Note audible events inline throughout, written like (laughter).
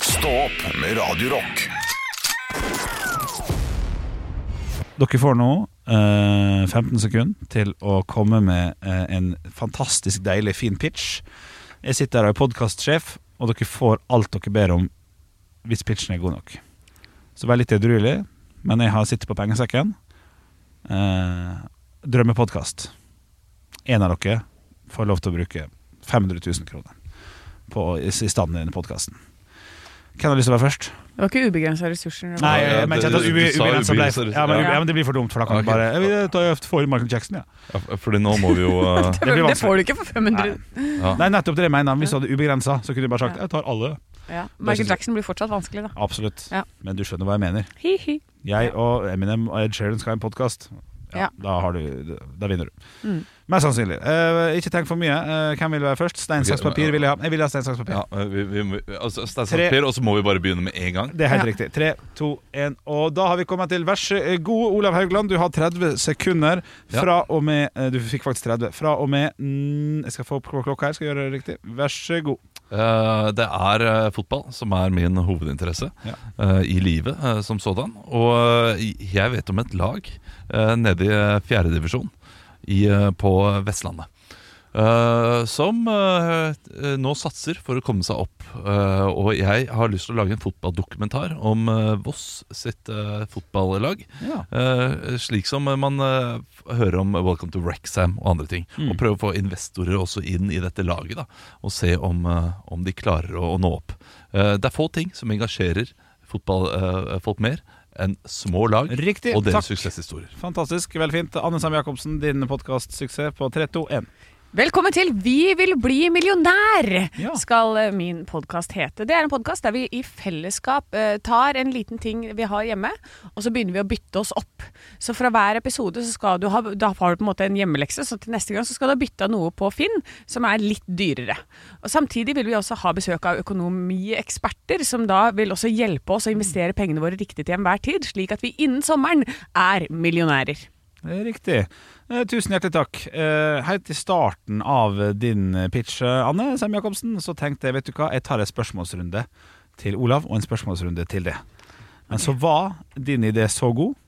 Stå opp med Radio Rock. Dere får nå eh, 15 sekunder til å komme med eh, en fantastisk deilig fin pitch. Jeg sitter her og er podkastsjef, og dere får alt dere ber om hvis pitchen er god nok. Så vær litt edruelig, men jeg har sittet på pengesekken. Eh, drømmepodkast. En av dere får lov til å bruke 500 000 kroner på, i, i stand i denne podkasten. Hvem har lyst til å være først? Det var ikke ubegrensa ressurser. Nei, Ja, jeg mente det- at ubi, du sa ubegrenset ble ubegrenset, ja men, ja. ja, men det blir for dumt, for da kan Ok. vi bare Vi tar jo for Michael Jackson, ja. Ja, f- Fordi nå må (laughs) vi jo eh, Det blir det vanskelig. får du ikke for 500 ja. Nei, nettopp det jeg mener. Hvis du hadde ubegrensa, så kunne du bare sagt Ja. jeg tar alle. ja. Det synes Michael jeg- Jackson blir fortsatt vanskelig, da. Absolutt. Ja. Men du skjønner hva jeg mener. Hi-hi. Jeg og Eminem og Ed Sheeran skal ha en podkast. Ja, Ja. Da, har du, da vinner du. Mm. Mest sannsynlig. Eh, ikke tenk for mye. Eh, hvem vil være først? Stein, Ok, saks, papir vil jeg ha. Jeg vil ha stein, saks, papir. ja, eh, vi, vi, må- altså, Stein Tre. Sandpapir, og så må vi bare begynne med en gang. Det er helt Ja. riktig. Tre, to, én, og da har vi kommet til Vær så god, Olav Haugland. Du har 30 sekunder Ja. fra og med eh, Du fikk faktisk 30. Fra og med mm, Jeg skal få opp klok- klokka her, skal jeg gjøre det riktig. Vær så god. Eh, det er eh, fotball som er min hovedinteresse Ja. eh, i livet eh, som sådan. Og eh, jeg vet om et lag eh, nede i eh, fjerde divisjon i, eh, på Vestlandet. eh, som eh, eh, nå satser for å komme seg opp. Eh, og jeg har lyst til å lage en fotballdokumentar om eh, Voss sitt eh, fotballag. Eh, slik som man eh, f- hører om Welcome to Rexham og andre ting. Mm. Og prøve å få investorer også inn i dette laget, da, og se om, eh, om de klarer å, å nå opp. Eh, det er få ting som engasjerer fotballfolk mer enn små lag Riktig. og deres Takk. suksesshistorier. Fantastisk. Vel fint. Anne Sam Jacobsen, din podkastsuksess på 3, 2, 1. Velkommen til Vi vil bli millionær, Ja. skal eh, min podkast hete. Det er en podkast der vi i fellesskap eh, tar en liten ting vi har hjemme, og så begynner vi å bytte oss opp. Så fra hver episode så skal du ha, da har du på en måte en hjemmelekse, så til neste gang så skal du ha bytta noe på Finn som er litt dyrere. Og Samtidig vil vi også ha besøk av økonomieksperter, som da vil også hjelpe oss å investere pengene våre riktig til enhver tid, slik at vi innen sommeren er millionærer. Det er Riktig. Eh, tusen hjertelig takk. Eh, helt i starten av eh, din eh, pitch, eh, Anne Sem Jacobsen, så tenkte jeg vet du hva, jeg tar en spørsmålsrunde til Olav og en spørsmålsrunde til det. Men så var din idé så god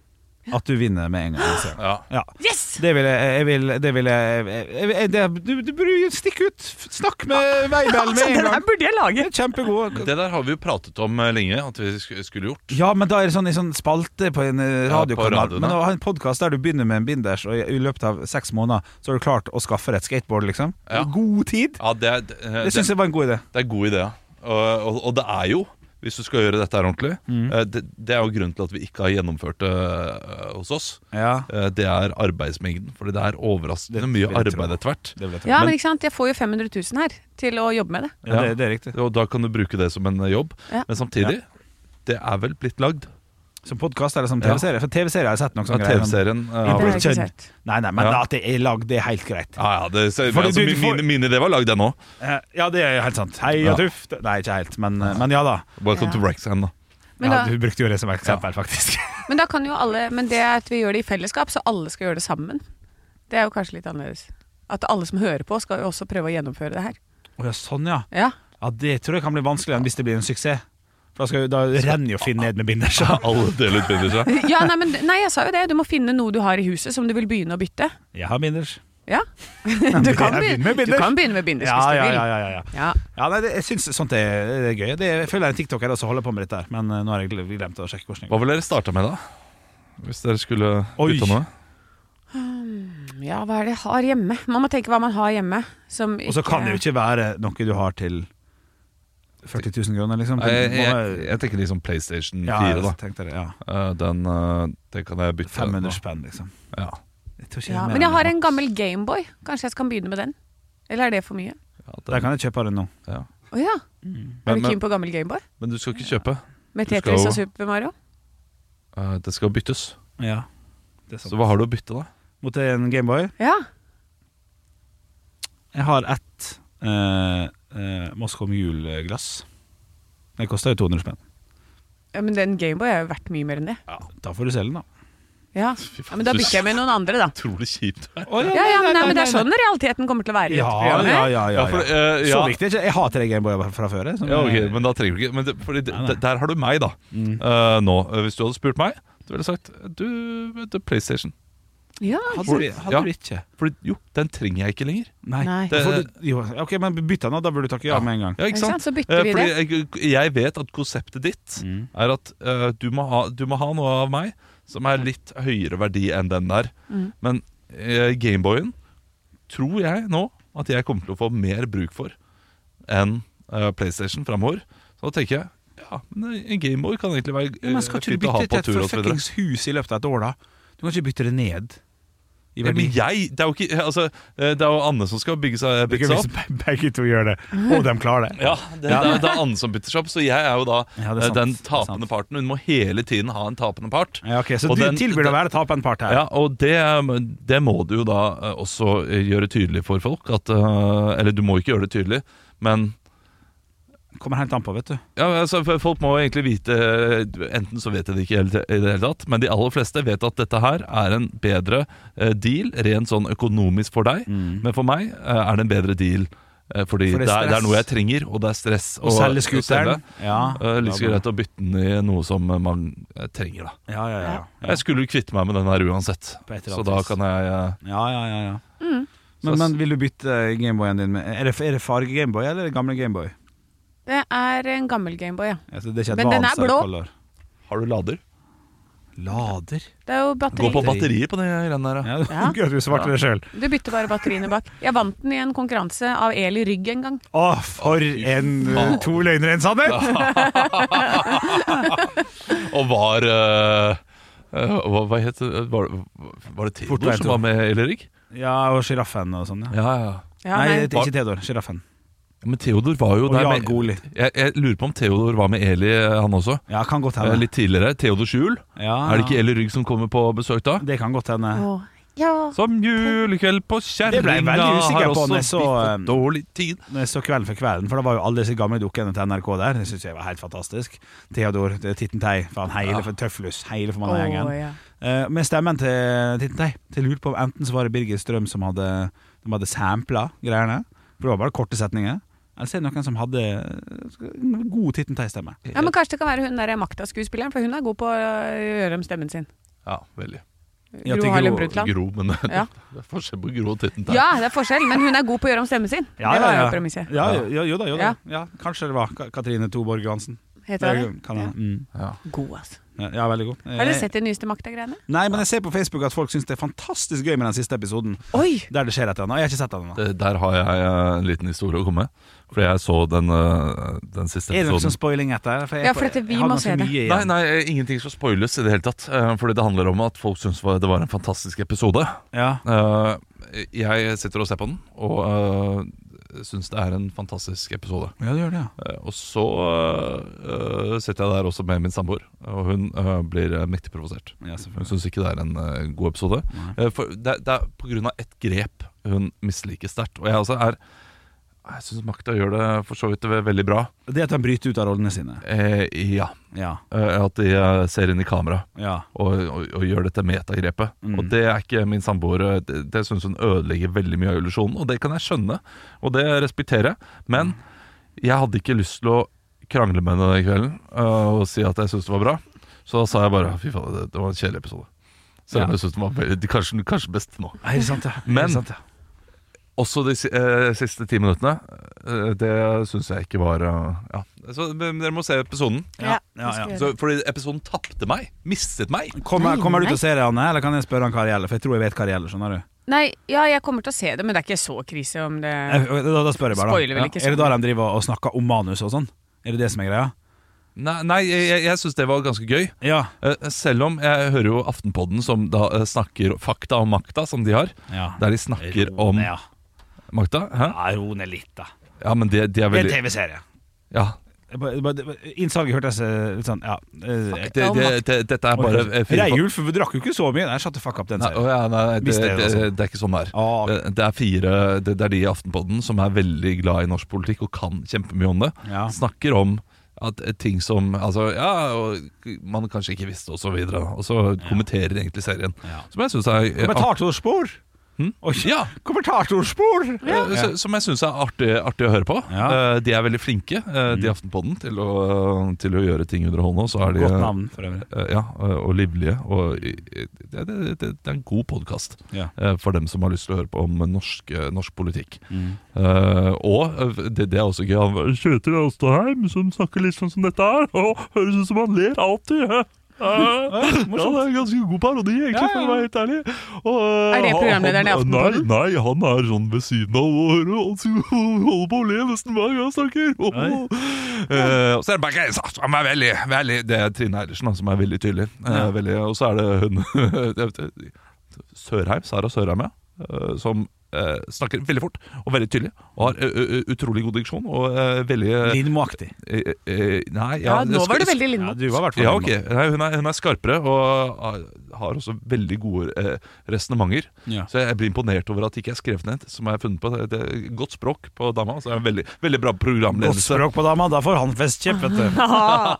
at du vinner med en gang. (gasps) Anne Sem. Ja. Ja. Yes! Det vil jeg, jeg vil, det vil jeg, jeg, jeg det, du, du burde stikke ut. Snakk med (laughs) Veibel Altså, med det en der gang. burde jeg lage. Kjempegod. Det der har vi jo pratet om eh, lenge at vi sk- skulle gjort. Ja, men da er det sånn i sånn spalte på en eh, Ja, på radiokanal. radioen, men ja. å ha en podkast der du begynner med en binders, og i i løpet av seks måneder så har du klart å skaffe deg et skateboard, liksom. Ja. I god tid. Ja, det, er- eh, Det syns jeg var en god idé. Det er god idé. ja. Og, og, og det er jo, hvis du skal gjøre dette her ordentlig Mm. eh, det, det er jo grunnen til at vi ikke har gjennomført det eh, hos oss. Ja, Eh, Det er arbeidsmengden, fordi det er overraskende Det mye vil jeg tro. arbeid etter hvert. det vil jeg ta. Ja, Men- men ikke sant? Jeg får jo 500 000 her til å jobbe med det. Ja, det, det er riktig. Og da kan du bruke det som en eh, jobb. Ja. Men samtidig, det er vel blitt lagd Som podkast eller som TV-serie. For TV-serie har jeg sett noen av sånne Sånn greier. men- TV-serien. eh, Ja, har- det har jeg Bridgerton. ikke sett. Nei, nei, men Ja. at det er lagd, det er helt greit. Ja, ja, det, ser- Fordi altså, du- du min, får- min, min idé var lagd, den òg. Eh, Ja, det er helt sant. Hei Ja. og tuff. Det- Nei, ikke helt, men, eh, men ja da. Ja. Welcome to Rexham, da. Men Ja, da- du brukte jo det som eksempel, faktisk. (laughs) Men da kan jo alle Men det at vi gjør det i fellesskap, så alle skal gjøre det sammen. Det er jo kanskje litt annerledes. At alle som hører på, skal jo også prøve å gjennomføre det her. Å ja, sånn ja. Ja. ja. Det tror jeg kan bli vanskeligere enn hvis det blir en suksess. For da, skal, jo- da renner jo Finn ned med (laughs) binders. Alle deler ut bilder seg. (laughs) ja nei, men nei, jeg sa jo det. Du må finne noe du har i huset som du vil begynne å bytte. Jeg har binders. Ja. Du kan begynner begynne, med du binders. kan begynne med binders Ja, hvis ja, du ja, vil. ja, ja, ja. Ja. Ja, nei, det, jeg syns sånt er, det er gøy. Det, jeg føler jeg er en tiktoker også holder på med dette her, men eh, nå har jeg gle- glemt å sjekke hvordan det går. Hva ville dere starta med, da? Hvis dere skulle Oi. bytta noe? ja, hva er det jeg har hjemme? Man må tenke hva man har hjemme. Som Og så kan det jo ikke være noe du har til 40 000 kroner, liksom. Nei, Jeg, Det må jeg, være- jeg tenker liksom PlayStation 4, ja, jeg da. tenkte det. Ja. Eh, Den, eh, den kan jeg bytte. 500 spenn, liksom. nå. Ja. Jeg tror ikke ja, er mer Men jeg enn har det. en gammel Gameboy. Kanskje jeg skal begynne med den? Eller er det for mye? ja, den, Der kan jeg kjøpe den nå. ja. Å ja. Er Men, du men, keen på gammel Gameboy? men du skal ikke kjøpe. Med Du skal Tetris jo- og Super Mario? Eh, Det skal byttes. Ja, det er sant. Så hva har du å bytte, da? Mot en Gameboy. Ja. Jeg har ett eh, eh, Moscow Mule-glass. Det koster jo 200 spenn. Ja, Men den Gameboy er jo verdt mye mer enn det. Da får du selge den, da. Ja. Fy ja, faen, Men da du- bytter jeg med noen andre, da. Utrolig kjipt. det er. Ja, ja, men, nei, men Det er sånn realiteten kommer til å være. i Ja, dette ja, programmet. ja, ja, ja. Ja, for, eh, Så ja. viktig er ikke Jeg har tre Gameboyer fra før. jeg, som- Ja, ok, men da trenger du ikke men det, fordi det, Nei, nei. Der har du meg, da. eh, nå. Eh, Hvis du hadde spurt meg, du ville sagt du, du, PlayStation. Ja. Hadde, Hvor- du- hadde ja. du ikke? Fordi jo, den trenger jeg ikke lenger. Nei. Nei. Det- Får du, jo, ok, men bytte den, da. Da burde du takke ja med en gang. Ja, Ikke ikke sant? sant? Så bytter Eh, vi Fordi det. jeg, jeg vet at konseptet ditt Mm. er at eh, du, må ha, du må ha noe av meg som er litt høyere verdi enn den der. Mm. Men eh, Gameboyen tror jeg nå at jeg kommer til å få mer bruk for enn eh, PlayStation framover. Så da tenker jeg ja, men eh, en Gameboy kan egentlig være Ja, eh, men skal ikke du fint å ha bytte på til et tur for og så videre. fuckings hus i løpet av et år, da? Du kan ikke bytte det ned i Ja, verdi. men jeg, det er jo ikke altså, eh, Det er jo Anne som skal bygge seg, Det bygge seg opp. begge to gjør det, og de klarer det. (laughs) Ja, det, det, er, det er Anne som bytter seg opp, så jeg er jo da Ja, det er eh, den sant, det er sant. tapende parten. Hun må hele tiden ha en tapende part. Ja, ok, Så Og du den- tilbyr deg å være taperen part her? Ja, og det, det må du jo da eh, også gjøre tydelig for folk. At, eh, eller du må ikke gjøre det tydelig, men Kommer helt an på, vet du. ja, altså, f- folk må jo egentlig vite eh, Enten så vet de det ikke helt, i det hele tatt, men de aller fleste vet at dette her er en bedre eh, deal rent sånn økonomisk for deg. Men for meg eh, er det en bedre deal, eh, fordi For det er det er, det stress. er noe jeg trenger, og det er stress. Å selge selge. scooteren. Ja. Eh, Litt så greit å bytte den i noe som eh, man eh, trenger, da. Ja, ja, ja. ja. Jeg skulle jo kvitte meg med den her uansett, På et eller så annet da vis. kan jeg eh, ja, ja, ja, ja. Mm. Men, men vil du bytte Gameboyen din med Er det, er det farge Gameboy eller er det gamle Gameboy? Det er en gammel Gameboy, ja. Altså, det er ikke Men den er advanced blå. color. Har du lader? Lader? Det er jo Gå batteri. på batteriet på de greiene der. Ja. Ja, (laughs) Ja. Gøy at du svarte det sjøl. Du bytter bare batteriene bak. Jeg vant den i en konkurranse av el i rygg en gang. Å, for en eh, faen. To løgner, en sannhet! Og var eh, eh, hva, hva het det Var, var det Fort vei Theodor to. som var med, eller ikke? Ja, og sjiraffen og sånn, ja. Ja, ja. Ja, nei, nei. det er ikke Theodor. Sjiraffen. Men Theodor var Og jo der Jarl med, Goli. jeg, jeg lurer på om Theodor var med Eli, eh, han også. Ja, kan godt eh, hende. Litt tidligere. Theodor Skjul. Ja, Er det Ah, ikke ja. Eli Rygg som kommer på besøk da? Det kan godt hende. Åh, ja. Som julekveld på kjerringa Det ble jeg veldig usikker har på også når jeg så, eh, biffet dårlig tid. Når jeg så Kvelden for kvelden, for da var jo alle disse gamle dukkene til NRK der. Det syns jeg var helt fantastisk. Theodor, det er Tittentei, faen, hele Ja. for tøflus, hele for Åh, mannegjengen. ja. Eh, med stemmen til Tittentei. Til lurt på om enten så var det Birgit Strøm som hadde, de hadde sampla greiene, for det var bare korte setninger. Eller så er det noen som hadde eh, god Tittentei-stemme. ja, Men kanskje det kan være hun der makta-skuespilleren, for hun er god på å gjøre om stemmen sin. Ja, veldig. Ja, Gro til Harlem Gro- Brundtland. Gro, men (laughs) Ja. det er forskjell på Gro og Titten der. Ja, det er forskjell, men hun er god på å gjøre om stemmen sin. det var jo premisset. Ja, jo, jo, jo da, jo da. Ja, kanskje det var Ka- Katrine Toborg Johansen. Heter det? Det Kan jeg, mm. Ja. God, altså. Ja, veldig god. Eh, Har dere sett de nyeste makta-greiene? Nei, men jeg ser på Facebook at folk syns det er fantastisk gøy med den siste episoden. Oi! Der det skjer et eller annet. Jeg har ikke sett den ennå. Det, der har jeg eh, en liten historie å komme med. Fordi jeg så den, eh, den siste Er det noe episoden. sånn spoiling etter? jeg- Ja, for dette, vi jeg har må ganske se det. mye igjen. Nei, nei, eh, ingenting skal spoiles i det hele tatt. eh, Fordi det handler om at folk syns var- det var en fantastisk episode. Ja. Eh, Jeg sitter og ser på den, og syns det er en fantastisk episode. ja, det gjør det, ja. Eh, Og så eh, sitter jeg der også med min samboer, og hun eh, blir eh, mektig provosert. ja Hun selvfølgelig. syns ikke det er en eh, god episode. Nei. Eh, For det, er- det er på grunn av ett grep hun misliker sterkt. Og jeg også er Jeg syns Makta gjør det for så vidt ve- veldig bra. Det at han bryter ut av rollene sine. Eh, ja. Ja. Eh, at de eh, ser inn i kamera ja. og, og, og gjør dette metagrepet. Mm. Og det er ikke min samboer. eh, Det, det syns hun ødelegger veldig mye av illusjonen, og det kan jeg skjønne, og det respekterer jeg. Men jeg hadde ikke lyst til å krangle med henne den kvelden eh, og si at jeg syns det var bra. Så da sa jeg bare fy faen, det, det var en kjedelig episode. Selv om Ja. jeg syns den var veldig, kanskje, kanskje best nå. Er det sant, ja? Er det Men- sant, ja? Også de si- eh, siste ti minuttene. eh, det syns jeg ikke var eh, Ja. Så eh, dere må se episoden. Ja, ja, vi skal ja. gjøre Så, fordi episoden tapte meg. Mistet meg. Kommer, Nei, kommer du nei. til å se det, Anne, eller kan jeg spørre han hva det gjelder? For jeg tror jeg vet hva det gjelder, skjønner du. det. Nei, ja, jeg kommer til å se det, men det er ikke så krise om det Jeg- Da, da spør jeg bare, da. Spoiler vel ikke Er det da sånn. de driver og snakker om manus og sånn? Er det det som er greia? Nei, nei jeg, jeg- jeg syns det var ganske gøy. Ja. Eh, selv om jeg hører jo Aftenpodden som da eh, snakker fakta om makta, som de har. ja. Der de snakker om Ja, makta. Hæ? ja ro ned litt, da. Ja, men de, de er Det er en veldig TV-serie. ja. Jeg bare- bare- bare- Innsalget hørtes eh, litt sånn ja. eh, det, det, det, Dette er bare eh, fire Reiulf for vi drakk jo ikke så mye. Nei, shut the fuck up, den Nei, serien. å ja, nei, nei, det, Visste jeg altså. det, det, altså. det er ikke sånn det er. Ah, Eh, Det er fire Det, det er de i Aftenpodden som er veldig glad i norsk politikk og kan kjempemye om det. ja. Snakker om at eh, ting som altså, ja, og man kanskje ikke visste, og så videre. Og så kommenterer egentlig serien. Ja. Som jeg syns er Kommentatorspor! Hm? Oi, Ja. Kommentatorspor! Eh, så- Som jeg syns er artig, artig å høre på. Ja. Mm. Eh, De er veldig flinke, eh, de i Aftenpodden, til å, til å gjøre ting underholdende. og så er de, Godt eh, navn, for øvrig. eh, Ja, eh, og livlige. Og i- i- det, det, det, det er en god podkast Ja. for dem som har lyst til å høre på om norsk, eh, norsk politikk. Mm. Eh, og eh, det, det er også gøy. Han Kjetil Alstaheim som snakker litt sånn som dette her. Og høres ut som han ler (laughs) alltid. hæ? Eh, ja, det er en ganske god parodi, egentlig, Ja, ja. for å være helt ærlig. Og, Er det eh, programlederen i han- Aftenposten? Nei, nei, han er sånn ved siden av og holder på å le nesten hver gang han snakker. Oh. (laughs) Eh, og så er det bare Geir Sars, som er veldig, veldig Det er Trine Eilertsen da, som er veldig tydelig. Eh, veldig, og så er det hun (laughs) jeg vet ikke, Sørheim, Sara Sørheim, ja. eh, som eh, snakker veldig fort og veldig tydelig. Og har eh, eh, utrolig god diksjon og eh, veldig eh, Lindmo-aktig. eh, eh, Nei, Ja, det nå skal- var du veldig Ja, Lindmo. du var i hvert fall ja, ok. Lindmo. Nei, hun, er, hun er skarpere og har- har også veldig gode eh, resonnementer. Ja. Så jeg blir imponert over at det ikke er skrevet ned, som jeg har funnet på. Det det er godt språk på dama. Så er det veldig, veldig bra Godt programledelse. språk på dama, da får han festkjepp, vet (laughs) du. (laughs)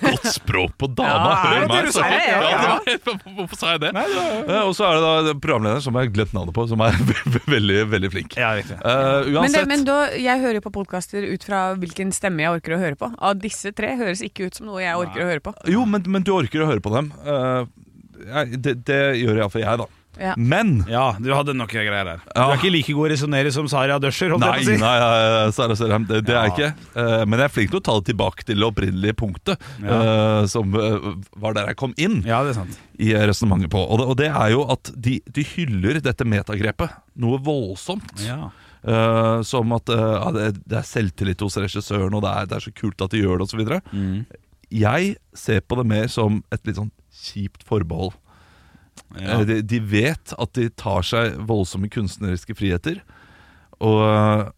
Godt språk på dama! Ja, er Hør det det meg du snakke. sier? Ja, ja. det var- (laughs) Hvorfor sa jeg det? Eh, Og så er det da programlederen som jeg har glemt navnet på, som er (laughs) veldig, veldig flink. Ja, riktig. Eh, Men, det, uansett men da, jeg hører jo på podkaster ut fra hvilken stemme jeg orker å høre på. Av disse tre høres ikke ut som noe jeg orker å høre på. Jo, men, men du orker å høre på dem. Eh, jeg, det, det gjør iallfall jeg, da. Ja. Men Ja, du hadde noen greier der. Du Ja. er ikke like god å resonnere som Saria Døscher, holdt Nei, jeg på å si. nei, nei, Sara Sørheim, det, det er Ja. jeg ikke. Eh, men jeg er flink til å ta det tilbake til det opprinnelige punktet, eh, som eh, var der jeg kom inn Ja, det er sant. i resonnementet på. Og det, og det er jo at de, de hyller dette metagrepet noe voldsomt. Ja. Eh, som at eh, ja, det, det er selvtillit hos regissøren, og det er, det er så kult at de gjør det, osv. Jeg ser på det mer som et litt sånn kjipt forbehold. Ja. Eh, De, de vet at de tar seg voldsomme kunstneriske friheter. Og,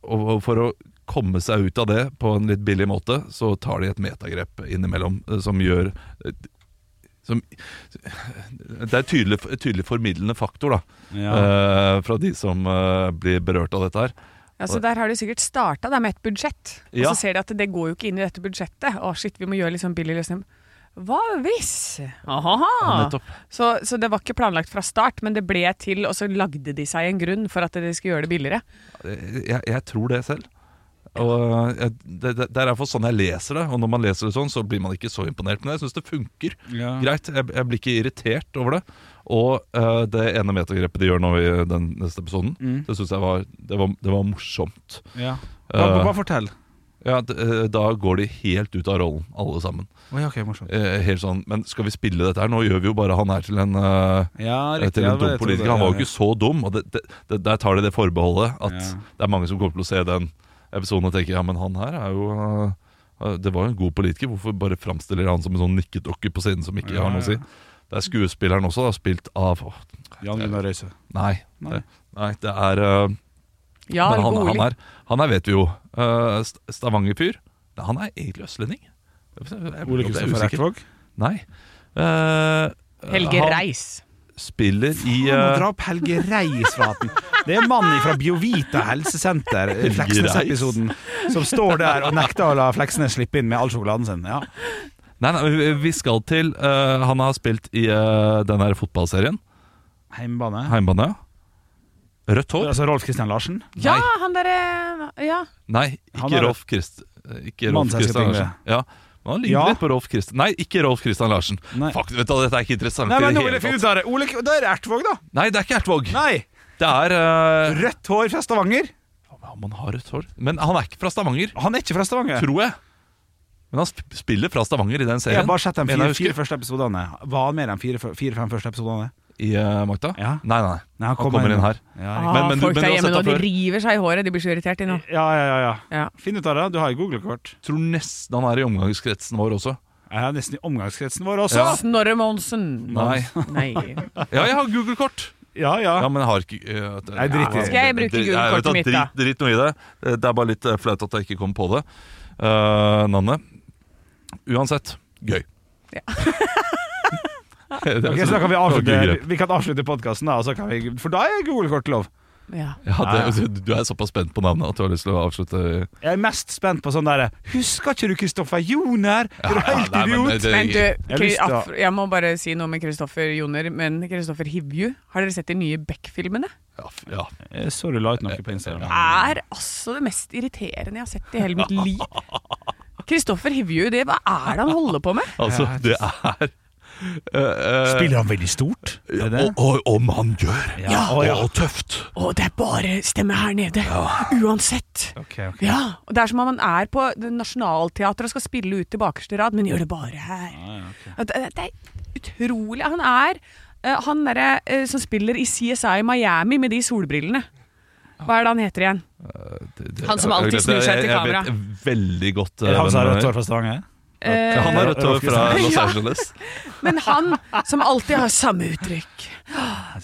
og for å komme seg ut av det på en litt billig måte, så tar de et metagrep innimellom eh, som gjør eh, som, Det er tydelig, tydelig formidlende faktor da, Ja. eh, fra de som eh, blir berørt av dette her. Altså, der har de sikkert starta med et budsjett, og Ja. så ser de at det går jo ikke inn i dette budsjettet. Å, shit, vi må gjøre litt sånn billig løsning. Hva hvis? Aha. nettopp. så, så det var ikke planlagt fra start, men det ble til, og så lagde de seg en grunn for at de skulle gjøre det billigere. jeg, jeg tror det selv. Og eh, jeg, det, det, det er derfor sånn jeg leser det. Og når man leser det sånn, så blir man ikke så imponert. Men jeg syns det funker Ja. greit. Jeg, jeg blir ikke irritert over det. Og eh, det ene metagrepet de gjør nå i den neste episoden, Mm. det syns jeg var, det var, det var morsomt. Ja. Bare, Eh, bare fortell. ja, d- eh, da går de helt ut av rollen, alle sammen. Oi, ok, morsomt. Eh, helt sånn Men skal vi spille dette her? Nå gjør vi jo bare han her til en eh, Ja, til ja, en dum jeg tror politiker. det, Han var ja, jo ikke så dum, og det, det, det, der tar de det forbeholdet at Ja. det er mange som kommer til å se den episoden og tenke ja, men han her er jo øh, Det var jo en god politiker, hvorfor bare framstiller han som en sånn nikkedokke på siden som ikke Ja, har noe å si? ja. Det er skuespilleren også, da, spilt av åh, ja. Jan Gunnar Røise. Nei. Nei. Det, nei, det er øh, Ja, Men han, han, alkoholiker. er, han her vet vi jo. øh, St- Stavanger-fyr. Nei, Han er egentlig østlending. Jeg- jeg- jeg- Ole jeg er Kristoffer usikker. Ertvåg. Nei. Eh, Helge han Reis. Spiller i Han må øh, dra opp Helge Reis fra hatten. Det er mannen fra Biovita helsesenter, Helge Fleksnes-episoden, som står der og nekter å la Fleksnes slippe inn med all sjokoladen sin. Ja. Nei, nei, vi- vi skal til eh, Han har spilt i eh, den her fotballserien. Heimebane. Heimbane. Rødt hår? Altså Rolf Kristian Larsen. Ja, Nei, han derre Ja. nei Han ikke har- Rolf Christ... eh, Ikke Mannen som jeg skal Rolf Christian pingle. Larsen. Ja, men han ligner Ja. litt på Rolf Christian Nei, ikke Rolf Christian Larsen. Nei. Fuck, vet du, hva, Dette er ikke interessant. Nei, i men nå det vil hele jeg finne ut tatt. av det. Ole, da er det Ertvåg, da. Nei, det er ikke Ertvåg. Nei. Det er eh, Rødt hår fra Stavanger. ja, Man har rødt hår. Men han er ikke fra Stavanger, Han er ikke fra Stavanger. tror jeg. Men han sp- spiller fra Stavanger i den Jeg serien. har bare sett de mener fire, jeg fire husker. første episodene. Var han med i de fire- fire-fem første episodene? I eh, Magda? Ja. Nei, nei. nei. Nei, han Han kommer inn her. Ja, Ah, Men- men du- folk men der du har hjemme sett nå, han de før. river seg i håret. De blir så irritert, de nå. ja, ja, ja, ja. Ja. Finn ut av det. Du har jo Google-kort. Tror nesten han er i omgangskretsen vår også. Jeg er nesten i omgangskretsen vår også. Ja. Snorre Monsen. Nei. Nei. Ja, jeg har Google-kort! Ja, ja. Ja, men jeg har ikke eh, at- Nei, drit i det. Skal jeg bruke Drit- gulkortet Nei, vet du hva, mitt, da? Drit, drit noe i det. Eh, Det er bare litt eh, flaut at jeg ikke kom på det. Eh, Nanne. Uansett, gøy. Ja. Det er Ok, så- så da kan vi (laughs) det var avslutte gøy grep. Vi kan avslutte podkasten, da. og så kan vi- For da er Google-kort lov. Ja. Ja, Ja, det, du er såpass spent på navnet at du har lyst til å avslutte Jeg er mest spent på sånn derre Husker ikke du Kristoffer (laughs) Joner? Er du helt nei, men idiot? det- Men du, har Kri- lyst til å- Afro- jeg må bare si noe med Kristoffer Joner, men Kristoffer Hivju, har dere sett de nye Beck-filmene? Ja, f- ja. Jeg så du Eh, la ut noe på Instagram. Er altså det mest irriterende jeg har sett i hele mitt liv. Kristoffer Hivju, det, hva er det han holder på med? Altså, Ja, det er eh, eh, Spiller han veldig stort? Er det? og, og, om han gjør! Ja. Og, Å, ja. og tøft! Å, det er bare stemme her nede. Uansett. Ok, ok. Ja, og Det er som om han er på det Nationaltheatret og skal spille ut til bakerste rad, men gjør det bare her. At eh, Det, det er utrolig. Han er eh, han derre eh, som spiller i CSI Miami med de solbrillene. Hva er det han heter igjen? Det- det- Han som jeg- alltid jeg- snur seg jeg- til kamera. Jeg vet veldig godt eh, Er det han som har hvem rødt det er. hår fra Stavanger? Eh, Han har rødt hår fra Los Ja. Angeles. men han som alltid har samme uttrykk.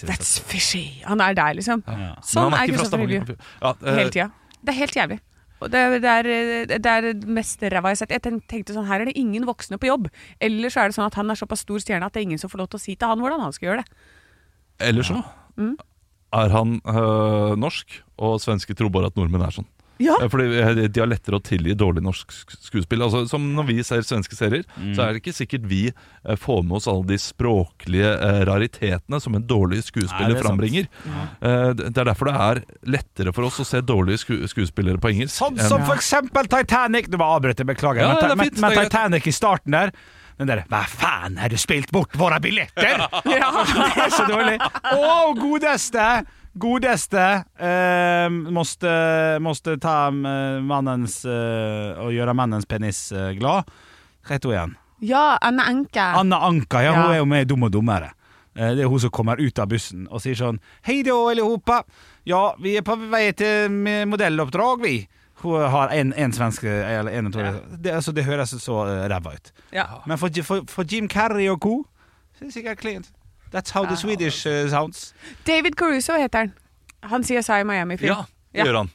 That's fishy. Han er der, liksom. Men Sånn han er ikke fra Kristoffer Hivju. Stavanger. Ja, eh, Hele tida. Det er helt jævlig. Og det, er- det, er, det er det mest ræva jeg har sett. Jeg ten- tenkte sånn, Her er det ingen voksne på jobb. Eller så er det sånn at han er såpass stor stjerne at det er ingen som får lov til å si til han hvordan han skal gjøre det. Eller så Mm. er han eh, norsk, og svenske tror bare at nordmenn er sånn. Ja, Eh, Fordi eh, De har lettere å tilgi dårlig norsk sk- skuespill. Altså, som Når vi ser svenske serier, så er det ikke sikkert vi eh, får med oss alle de språklige eh, raritetene som en dårlig Nei, skuespiller det er sant. frambringer. Eh, d- Det er derfor det er lettere for oss å se dårlige sku skuespillere på engelsk. Sånn enn- som for eksempel Titanic Nå bare avbryter jeg, beklager. men, Ja, det er Ti- men, fint, men det er greit. Titanic i starten der den der, Hva faen, har du spilt bort våre (laughs) billetter?! det er så dårlig. Å, godeste! Godeste eh, måste, måste ta eh, mannens eh, Og gjøre mannens penis eh, glad. Hva heter hun igjen? ja Anne Anka. Anna Anka, ja, hun Ja. er jo med i Dum og dummere. Eh, Det er hun som kommer ut av bussen og sier sånn Hei da, allihopa. Ja, vi er på vei til m- modelloppdrag, vi. Hun har en, en svensk eller en, tror jeg. det, altså, det høres så eh, ræva ut. Ja. Men for, for, for Jim Carrey og co. så er det sikkert klint. That's how the Swedish eh, sounds. David Caruso heter han. Han sier seg i Miami-film. Ja, det gjør han.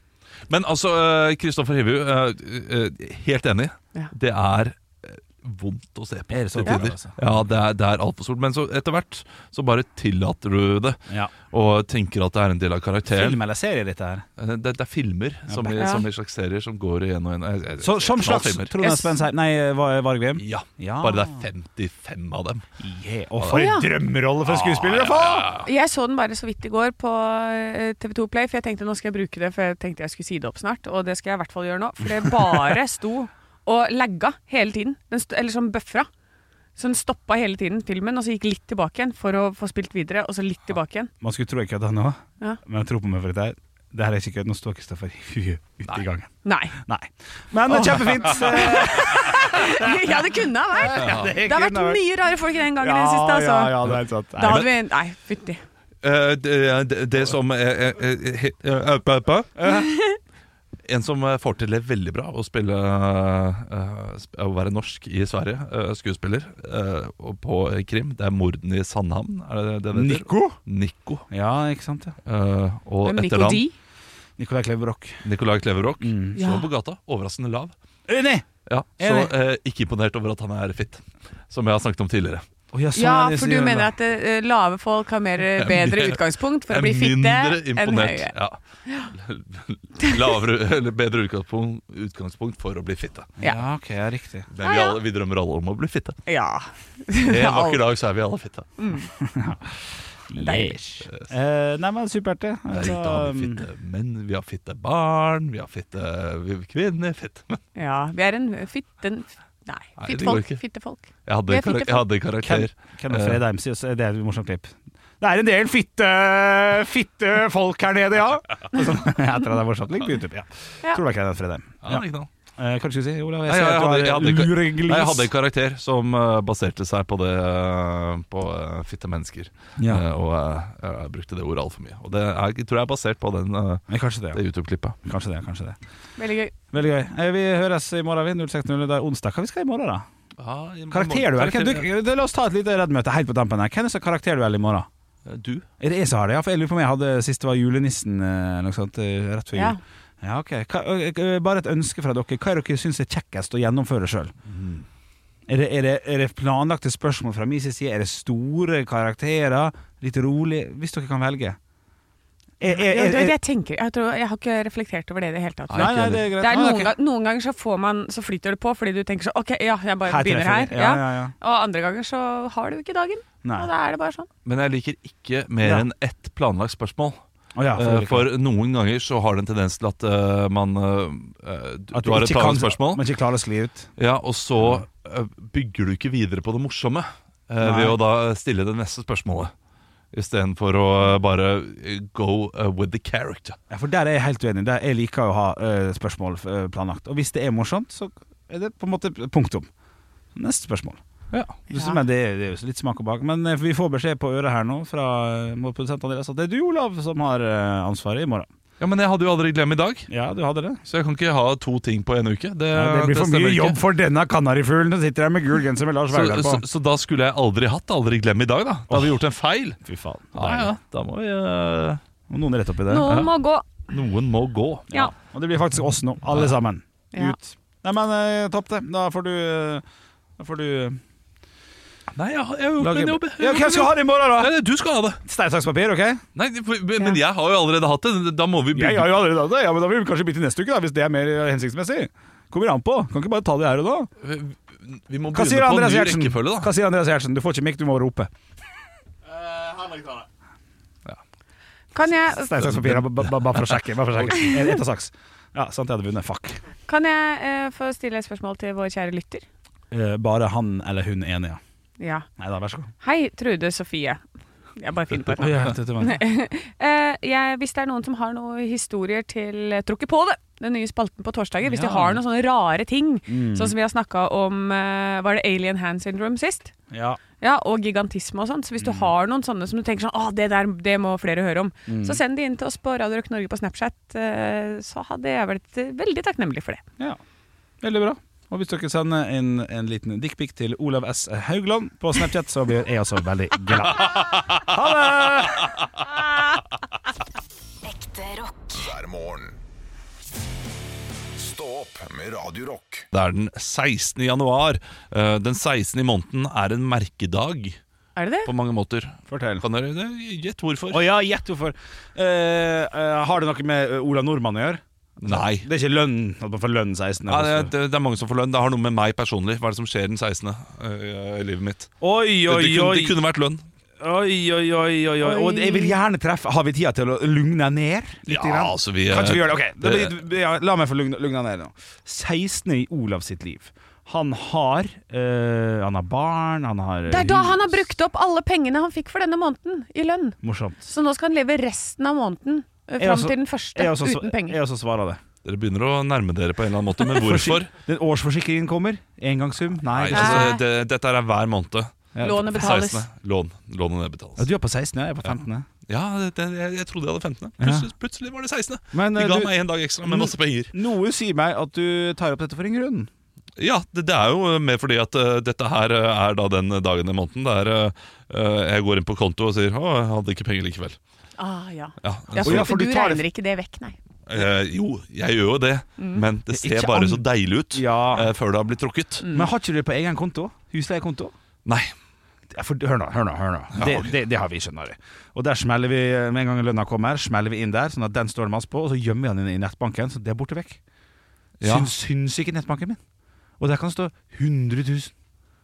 Men altså, eh, Kristoffer Hivju, eh, eh, helt enig. Ja. Det er eh, vondt å se på. Er det så til tider. vondt, altså? Ja, det er, det er altfor stort. Men så etter hvert så bare tillater du det, Ja. og tenker at det er en del av karakteren. Film eller serie, dette her. Eh, Det, det er filmer som, i, Ja. som i slags serier som går igjen og igjen. Eh, eh, Så, som slags knallfilmer. Trond Espen sier Nei, eh, Var- Vargrim. ja, Ja. bare det er 55 av dem. Yeah. Og for Ja. en drømmerolle for skuespillere å få! Jeg så den bare så vidt i går på eh, TV2 Play, for jeg tenkte nå skal jeg bruke det, for jeg tenkte jeg skulle si det opp snart, og det skal jeg i hvert fall gjøre nå, for det bare sto og lagga hele tiden, den st eller sånn bøffra. Så den stoppa hele tiden filmen, og så gikk litt tilbake igjen for å få spilt videre, og så litt tilbake igjen. Man skulle tro jeg kødda nå, Ja. men tro på meg for dette. her. Det her er ikke kødd. Nå står (laughs) Kristoffer Hivju ute i gangen. Nei. Nei. Men det er kjempefint. (laughs) Eh, (laughs) Ja, det kunne ha vært! Det har vært kunne vært- mye rare folk den gangen i Ja, det siste, altså. Ja, ja, det er helt sant. Da Nei, hadde vi Nei, fytti. Eh, det, det, det som eh, eh, eh, he- eh, eh, eh, eh, En som eh, får til det veldig bra, å spille eh, sp- Å være norsk i Sverige, eh, skuespiller, eh, og på eh, krim. Det er mordene i Sandhamn, er det det det men- heter? Nico? Nico. Ja, ikke sant. Ja. eh, og Hvem etternavn Nicolai? Nicolai Kleverock. Nicolai Kleverock. Mm. Ja. på gata, overraskende lav. Enig! Ja, så Enig. eh, ikke imponert over at han er fitt, som jeg har snakket om tidligere. Å, ja, sånn Ja, er det- for du mener at eh, lave folk har mer, eh, (laughs) bedre utgangspunkt for å bli Jeg er fitte Mindre enn imponert. høye? Ja. (laughs) Lavere, eller bedre utgangspunkt, utgangspunkt for å bli fitte. Ja, ok, ja, riktig. Ja, Men vi, Ah, ja. alle, vi drømmer alle om å (laughs) bli fitte. Ja. En (laughs) vakker dag så er vi alle fitte. Yes. Eh, nei, men supert, det. Det er Altså, riktig, da har vi um, fitte menn, vi har fitte barn, vi har fitte vi har kvinner fitte. (laughs) Men Ja, vi er en fitten... Nei, Nei, det går fittefolk. ikke. fittefolk. jeg Vi hadde, er en karak- fitte jeg hadde en karakter. Kenneth Eh. Fredheim sier så er det er et morsomt klipp. Det er en del fitte, fitte folk her nede, (laughs) ja. Og så- (laughs) Jeg tror det er morsomt. Ligg på YouTube. Ja. Ja. Tror det er Kenneth Fredheim. Ja, det er ikke noe. Eh, hva skal du si, Olav? Jeg Nei, ser at jeg du hadde- har jeg hadde ikke- lureglis. Nei, jeg hadde en karakter som eh, baserte seg på det eh, På eh, fitte mennesker. Ja. Eh, og eh, jeg brukte det ordet altfor mye. Og det er, jeg tror jeg er basert på den, eh, Men kanskje det, det YouTube-klippet. ja. Kanskje det, kanskje det. Veldig gøy. Veldig gøy. Eh, Vi høres i morgen, vi. 06.00. Det er onsdag. Hva vi skal i morgen, da? Karakterduell? Hvem- Du, du, la oss ta et lite reddmøte helt på tampen her. Hvem er det som har karakterduell i morgen? Eh, Du? Er det jeg som har det? Ja, for jeg lurer på om jeg hadde sist det var julenissen eh, eller noe sånt, eh, rett før Ja. jul. Ja, ok. Hva, ø- ø- bare et ønske fra dere. Hva er dere syns er kjekkest å gjennomføre sjøl? Er, det- er, det- er det planlagte spørsmål fra min side? Er det store karakterer? Litt rolig? Hvis dere kan velge. Er, er, Ja, er, det, er, jeg, tenker, jeg, tror, jeg har ikke reflektert over det i det hele tatt. nei, nei, det er greit. Det er Nei, noen, ok. ga- noen ganger så, får man, så flyter det på fordi du tenker så OK, ja, jeg bare Her begynner treffer her. vi. Ja. Ja, ja, ja. Og andre ganger så har du ikke dagen. Nei. Og da er det bare sånn. Men jeg liker ikke mer Ja. enn ett planlagt spørsmål. Å ja, for, Eh, For noen ganger så har det en tendens til at eh, man eh, eh, Du, at du har et ikke kan- planlagt spørsmål, Men ikke klarer å skli ut. ja, og så eh, bygger du ikke videre på det morsomme eh, Nei. ved å da stille det neste spørsmålet. Istedenfor å eh, bare eh, go eh, with the character. Ja, for der er jeg helt uenig. Der jeg liker å ha eh, spørsmål eh, planlagt. Og hvis det er morsomt, så er det på en måte punktum. Neste spørsmål. Ja. Det, Ja. men det, er- det er jo litt smak og bak. Men eh, vi får beskjed på øret her nå fra eh, vår produsent Andreas at det er du, Olav, som har eh, ansvaret i morgen. Men jeg hadde jo aldri glem i dag, Ja, du hadde det. så jeg kan ikke ha to ting på en uke. Det, Ja, det blir for stemmer mye ikke. jobb for denne kanarifuglen som sitter her med gul genser med Lars Så, Vaular så, på. så da skulle jeg aldri hatt aldri glem i dag, da. Da hadde vi gjort en feil. Fy faen. Ja, ja, da må vi eh, Må noen rette opp i det. Noen må gå. Noen må gå. Ja. Og det blir faktisk oss nå, alle sammen. Ja. Ut. Nei, men eh, topp det. Da får du eh, Da får du eh, Nei, jeg har, jeg har gjort lage min jobb. jeg. Ja, Hvem skal ha det i morgen, da? Nei, nei, du skal ha det. Stein, saks, papir, OK? Nei, for- men jeg har jo allerede hatt det. Da må vi Jeg bygge har jo allerede hatt det. Ja, men da vil vi kanskje bytte neste uke, da, hvis det er mer hensiktsmessig. Kommer an på. Kan ikke bare ta det her og da. Vi må Hva sier begynne på en Andreas ny Gjertsen? rekkefølge, da. Hva sier Andreas Gjertsen? Du får ikke mikk, du må rope. Kan jeg, Stein, saks, papir, ja, ba- ba- bare for å sjekke. Bare for å (laughs) sjekke. Ett og saks. Ja, sant, jeg hadde vunnet. Fuck. kan jeg eh, få stille et spørsmål til vår kjære lytter? Eh, Bare han eller hun enig, ja. Ja. Nei da, vær så god. Hei, Trude Sofie. Jeg bare finner på et (laughs) Oi, navn. jeg vet ikke hva det er. Eh, jeg, hvis det er noen som har noen historier til eh, Tror ikke på det! Den nye spalten på torsdager. Hvis Ja. Mm. de har noen sånne rare ting, Mm. (laughs) sånn som vi har snakka om eh, Var det Alien Hand Syndrome sist? Ja. Ja, Og gigantisme og sånn. Så hvis Mm. du har noen sånne som du tenker sånn Å, det der det må flere høre om. Mm. Mm. Så send de inn til oss på Radio Rock Norge på Snapchat. eh, så hadde jeg vært eh, veldig takknemlig for det. Ja, veldig bra. Og hvis dere sender en, en liten dickpic til Olav S. Haugland på Snapchat, så blir jeg også veldig (laughs) glad. Ha det! Ekte rock. hver morgen. Stå opp med Radio Rock. Det er den 16. januar. Eh, Den 16. i måneden er en merkedag Er det det? på mange måter. Fortell. Kan dere det? gjette hvorfor? Å ja, gjett hvorfor. Eh, eh, har det noe med eh, Olav Nordmann å gjøre? Nei. Det er ikke lønn? At man får lønn 16. Nei, eller det, det er mange som får lønn. Det har noe med meg personlig. Hva er det som skjer den 16. eh, i livet mitt? Oi, oi, det, kunne, oi. det kunne vært lønn. Oi, oi, oi, oi, oi. Og jeg vil gjerne treffe Har vi tida til å lugne ned? litt Ja, grann? altså, vi, eh, Kanskje vi gjør det? Ok, da det- blir- ja, La meg få lugne, lugne ned nå. 16 i Olav sitt liv. Han har eh, Han har barn, han har Det er da han har brukt opp alle pengene han fikk for denne måneden i lønn. Morsomt. Så nå skal han leve resten av måneden eh, Jeg fram også- til den første også, uten penger. jeg også svarer det. Dere begynner å nærme dere på en eller (laughs) annen måte, men hvorfor? Den årsforsikringen kommer. Engangssum. Nei. Nei, det- altså, det, dette er hver måned. Ja. Lånet betales. 16. Lån. Lånet nedbetales. Ja, du er på 16, ja. Jeg er på 15. Ja. Ja, det, det, jeg, jeg trodde jeg hadde 15. Plutselig, plutselig var det 16. Men, De eh, ga du- meg en dag ekstra med masse penger. Noe sier meg at du tar opp dette for en grunn. Ja, det, det er jo mer fordi at eh, dette her eh, er da den dagen i måneden der eh, eh, jeg går inn på konto og sier 'Å, jeg hadde ikke penger likevel'. Ah, ja. Ja, Ja, så, for, ja, for du, du tar det- regner ikke det vekk, nei. (laughs) eh, jo, jeg gjør jo det, Mm. men det ser Ikke bare an- så deilig ut Ja. eh, før det har blitt trukket. Mm. Men har ikke du det på egen konto? Husleiekonto? Nei. Ja, for, hør nå, hør nå. hør nå det, ok. det, det har vi, skjønner du. Og der smeller vi eh, Med en gang lønna kommer, smeller vi inn der, sånn at den står det masse på, og så gjemmer vi den inn i nettbanken, så det er borte vekk. Ja. Syns, syns ikke nettbanken min. Og der kan det stå 100 000.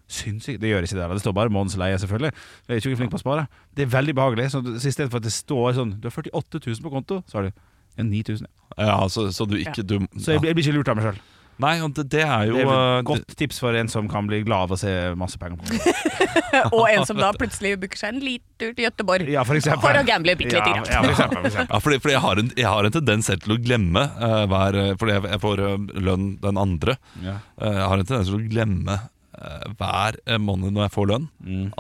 Syns ikke Det gjør ikke det. da. Det står bare månedens leie, selvfølgelig. Jeg er ikke flink på å spare. Det er veldig behagelig. Så så i stedet for at det står sånn Du har 48 000 på konto, så har du ja, 9000. Ja, så, så du ikke du, Så jeg, blir- jeg blir ikke lurt av meg sjøl. ja. Nei, og det, det er jo Det er eh, et godt tips for en som kan bli glad av å se masse penger på konto. Og en som da plutselig booker seg en liten tur til Gøteborg Ja, for eksempel. for å gamble bitte lite Ja, grann. ja, for eksempel, for eksempel. Ja, fordi, fordi jeg, har en, jeg har en tendens selv til å glemme eh, hver eh, Fordi jeg, jeg får eh, lønn den andre. Ja. Eh, jeg har en tendens til å glemme eh, hver eh, måned når jeg får lønn,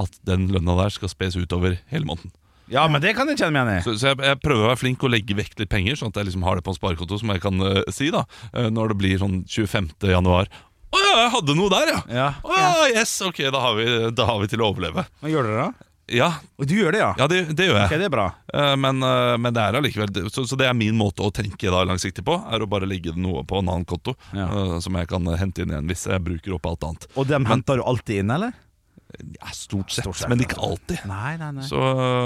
at den lønna der skal spes utover hele måneden. ja, men det kan jeg kjenne meg igjen i. Så, så jeg, jeg prøver å være flink og legge vekk litt penger, sånn at jeg liksom har det på en sparekonto som jeg kan eh, si, da eh, når det blir sånn 25. januar. Å ja, jeg hadde noe der, ja! Ja. Å ja, yes, ok, da har, vi, da har vi til å overleve. Hva gjør dere da? Ja, Og du gjør det, ja? ja det, det gjør jeg. Ok, det er bra. Eh, Men, eh, men det er allikevel det- så, så det er min måte å tenke da langsiktig på. Er å bare legge noe på en annen konto Ja. eh, som jeg kan hente inn igjen hvis jeg bruker opp alt annet. Og dem henter du alltid inn, eller? Ja, stort sett, Stort sett, men ja. ikke alltid. Nei, nei, nei. Så,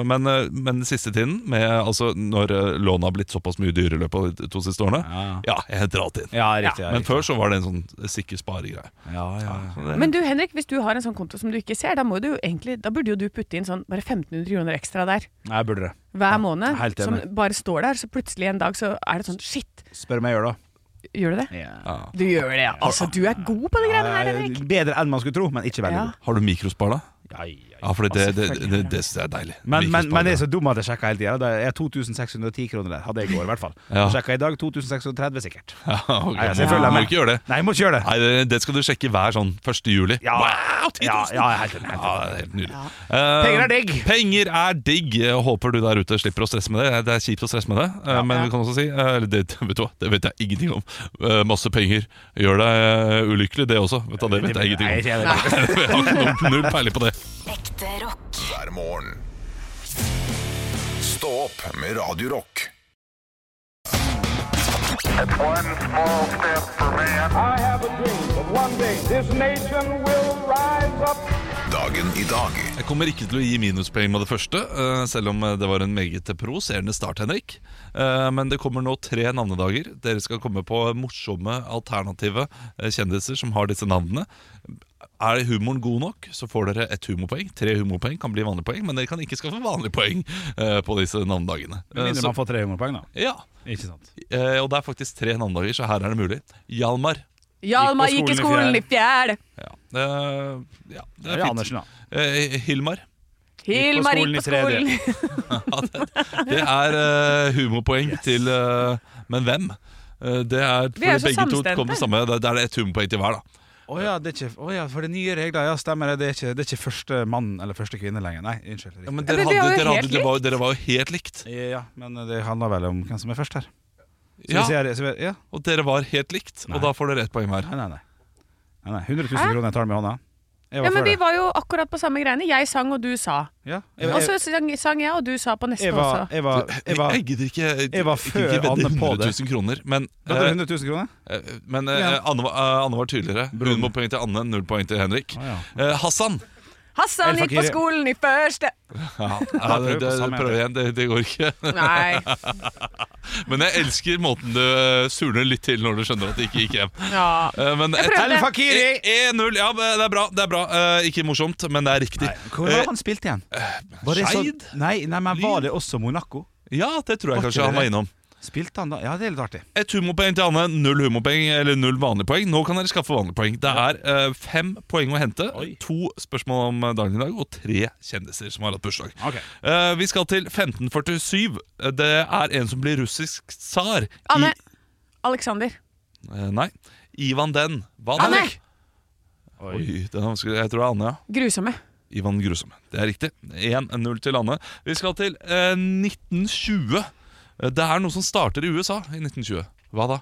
men, eh, men den siste tiden, med, altså, når eh, lånet har blitt såpass mye dyrere i løpet av de to siste årene, Ja, ja, jeg henter alt inn. ja riktig. Ja, Men riktig. før så var det en sånn sikker sparegreie. ja, ja, ja. Så det- Men du Henrik, hvis du har en sånn konto som du ikke ser, da, må du jo egentlig, da burde jo du putte inn sånn bare 1500 kroner ekstra der Nei, jeg burde det. hver måned. helt som enig. bare står der, så plutselig en dag så er det sånn Shit, Spør meg gjør det. gjør du det? Ja. ja. Du gjør det, ja. Altså, du er god på de greiene her, Henrik. Bedre enn man skulle tro, men ikke veldig Ja. god. Har du mikrospar, da? Ja, ja, ja. Ja, for det, det, selvfølgelig det, har det, jeg. det synes jeg er deilig. Men, men, Mikrospar, men det er ja. så dum at jeg sjekka hele tida. Det er 2610 kroner der. Hadde jeg i går, i (laughs) hvert fall. Ja. Sjekka i dag 2630 sikkert. (laughs) ja, ok. Nei, altså, jeg Du føler må meg- ikke gjøre det. Nei, jeg må ikke gjøre det! Nei, det, det skal du sjekke hver sånn 1. juli. Ja. Wow, 10 000! Ja, ja, helt enig, helt enig. Ja, det er helt nydelig. Eh, Penger er digg! Penger er digg! Jeg håper du der ute slipper å stresse med det. Det er kjipt å stresse med det, eh, men Ja. vi kan også si eh, eller det, (laughs) vet du hva, det vet jeg ingenting om. Eh, Masse penger gjør deg eh, ulykkelig, det også. Vet du, hva, det vet jeg Nei, ingenting om. jeg vet (laughs) ikke. Jeg har ikke noe- null peiling på det. Ekte rock. hver morgen. Stå opp med Radio Rock. One small step for man. I have a dream that one day this nation will rise up. Dagen i dag Jeg kommer ikke til å gi minuspoeng med det første, eh, selv om det var en meget provoserende start, Henrik. Eh, Men det kommer nå tre navnedager. Dere skal komme på morsomme, alternative eh, kjendiser som har disse navnene. Er humoren god nok, så får dere ett humorpoeng. Tre humorpoeng kan bli vanlige poeng, men dere kan ikke skaffe vanlige poeng eh, på disse navnedagene. Med Eh, mindre Så, man får 300 poeng, da. ja, Ikke sant. eh, og det er faktisk tre navnedager, så her er det mulig. Hjalmar. Hjalmar gikk i skolen i fjerde. Ja, eh, ja det Det er er fint. Andersen, da. Eh, Hilmar. Hilmar skolen i gikk på skolen. Ja, det, det er eh, humorpoeng til eh, Men hvem? Eh, det er, Vi er jo fordi så begge to samstemte. kom med samme. Da da er det ett humorpoeng til hver, da. Å ja, det er ikke, å ja, for det er nye regler. Ja, stemmer det. Det er ikke, det er ikke første mann eller første kvinne lenger. Nei, unnskyld. Ja, men Riktig. dere, men vi hadde, var jo dere, helt hadde, dere, var, dere var jo helt likt. Ja, men det handler vel om hvem som er først her. Så Ja, hvis jeg er- så vi- ja. og dere var helt likt, Nei. og da får dere ett poeng hver. Nei, nei, nei. nei, nei. 100 000 kroner jeg tar med i hånda. Jeg (laughs) Ja, men før vi det. var jo akkurat på samme greiene. Jeg sang, og du sa. Ja, jeg, Og jeg, så sang, sang jeg, og du sa på neste jeg, var, også. jeg, var, jeg, var, Jeg gidder ikke jeg var jeg før gidder ikke vedde Anne på 100 det. 000 kroner, men, Da tar jeg 100 000 kroner? eh, eh, men eh, Ja. Anne, var, eh, Anne var tydeligere. Hun må poeng til Anne, null poeng til Henrik. Å, ja. Eh, Hassan! Hassan El gikk på Fakir. skolen i første Ja, det, prøver på det, samme, prøv igjen, det, det går ikke. (laughs) (laughs) Nei. Men jeg elsker måten du eh, surner litt til når du skjønner at det ikke gikk hjem. Ja. Eh, Men Jeg prøvde. Et- El Fakiri! E- 1-0. Ja, men det er bra. det er bra Eh, Ikke morsomt, men det er riktig. Hvor var han spilt igjen? Var det sånn- eh, Skeid? Nei, nei, men var det også Monaco? Eh, Ja, det tror jeg Var kanskje ikke han det var det? innom. Spilte han da? Ja, det er litt artig. Et humorpoeng til Anne, null humorpoeng, eller null vanlige poeng. Nå kan dere skaffe vanlige poeng. Det er eh, fem poeng å hente. To spørsmål om eh, dagen i dag, og tre kjendiser som har hatt bursdag. Ok. Eh, vi skal til 1547. Eh, Det er en som blir russisk tsar. i- Anne. Alexander. Eh, nei. Ivan den. Hva Anne! Henrik? Oi, den er vanskelig. Jeg tror det er Anne, ja. Grusomme. Ivan Grusomme. Det er riktig. 1-0 til landet. Vi skal til eh, 1920. Eh, Det er noe som starter i USA i 1920. Hva da?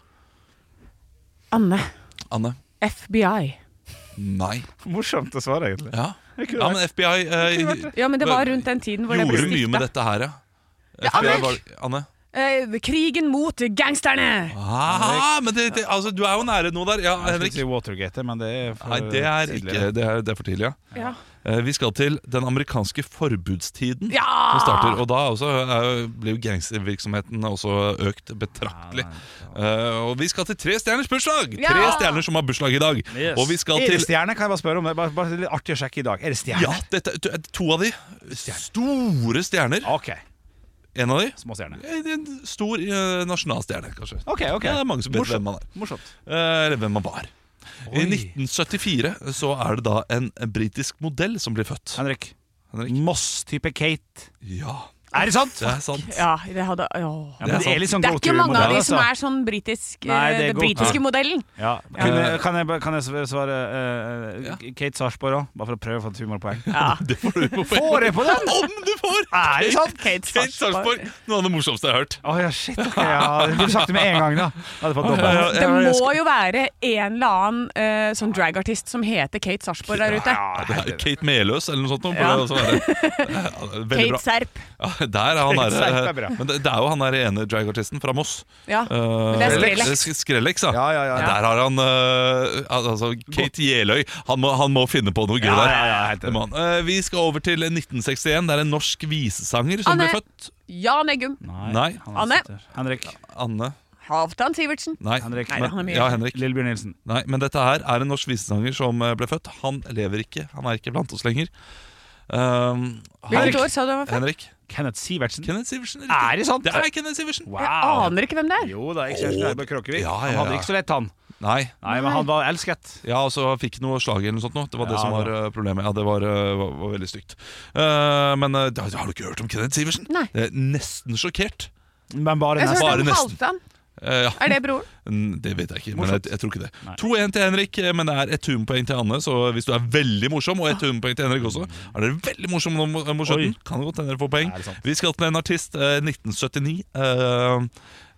Anne. Anne? FBI. Nei. Morsomt å svare, egentlig. Ja, Jeg kunne ja vært- men FBI eh, Ja, men det var rundt den tiden hvor det ble gjorde mye med stifta. dette her, ja. Ja, Anne! var, Anne. Eh, krigen mot gangsterne! Ah, men det, det, altså, du er jo nære noe der. Ja, Jeg skulle Henrik. si Watergate, men det er for Nei, det er tidlig. ikke Det er, det er for tidlig, ja. Ja. Eh, Vi skal til den amerikanske forbudstiden. ja. som starter. Og da også er- ble jo gangstervirksomheten også økt betraktelig. Eh, og vi skal til Tre stjerners bursdag! Ja! Tre stjerner som har bursdag i dag. Og vi skal Er det til stjerne, kan jeg bare spørre om det? Bare, bare litt artig å sjekke i dag. Er det stjerne? ja, dette, to- to av de. Store stjerner. Ok, En av de. små stjerne. En stor eh, nasjonalstjerne, kanskje. Ok, ok. Ja, det er mange som vet Morsomt. hvem man er. Morsomt. Eh, Eller hvem man var. I 1974 så er det da en britisk modell som blir født. Henrik. Henrik. Moss-type Kate. Ja, Er det sant? det er sant. Ja, det hadde åh. Ja, men det er litt sånn Det er ikke go-to-modell, mange av de som altså. er sånn britisk eh, Nei, det er Den godt. britiske Ja. (laughs) modellen. Ja. Kan, jeg, kan, jeg, kan jeg svare eh, Ja. Kate Sarpsborg òg? Bare for å prøve å få et humorpoeng. (laughs) Det får du på Får Ah, jeg på den? Om du får! Er det sant? Kate Kate Sarpsborg, noe av det morsomste jeg har hørt. Å ja, shit. ok, ja. Du burde sagt det med en gang, da. Jeg hadde fått dobbelt. Ja, Det må jo være en eller annen eh, sånn dragartist som heter Kate Sarpsborg der ute. Ja, (laughs) (laughs) Det er Kate Meløs eller noe sånt. Noe, burde Ja. det også være. Ja, Veldig Kate bra. Serp. Ja, der er han Seip er der, bra. men det, det er jo han der ene dragartisten fra Moss. Ja, Eh, men det er Skrellex. Sk- Skrellex, ja. Ja, ja, ja. Der har han eh, al- altså, Kate Jeløy. Han må, han må finne på noe gøy Ja, der. ja, ja, helt enig. Det må han. Eh, vi skal over til 1961. Det er en norsk visesanger som Anne. ble født. Jan Eggum. Nei. han Anne. sitter. Henrik. Anne. Halvdan Sivertsen. Nei. Henrik. Nei, Men- han er mye. Ja, Henrik. Lillebjørn Nilsen. Nei, men dette her er en norsk visesanger som eh, ble født. Han lever ikke. Han er ikke blant oss lenger. Um, Hvilket år sa du han var født? Henrik. Kenneth Sivertsen. Kenneth Sivertsen. riktig. Er det sant? Det er Kenneth Sivertsen. Wow. Jeg aner ikke hvem det er. Ah, Jo da, jeg kjørte Åh, Eibjørn Kråkevik. ja, ja, Han hadde ja. ikke så lett, han. Nei. Nei, men han var elsket. Ja, og så fikk noe slag eller noe sånt nå. Det var det Ja, som var da. eh, problemet. Ja, det var, eh, var, var veldig stygt. Eh, men eh, da- har du ikke hørt om Kenneth Sivertsen? Nei. Det er nesten sjokkert. Men bare Jeg så nesten. Bare hørte om nesten. Halvdan. Eh, ja. Er det broren? Mm, Det vet jeg ikke, men jeg, Morsomt. jeg tror ikke det. Nei. 2-1 til Henrik, eh, men det er ett humpoeng til Anne. Så hvis du er veldig morsom, og ett humpoeng til Henrik også, er dere veldig morsomme nå mo- Oi. mot slutten. Kan det godt hende dere får poeng. Er det sant? Vi skal til en artist. eh, 1979 eh,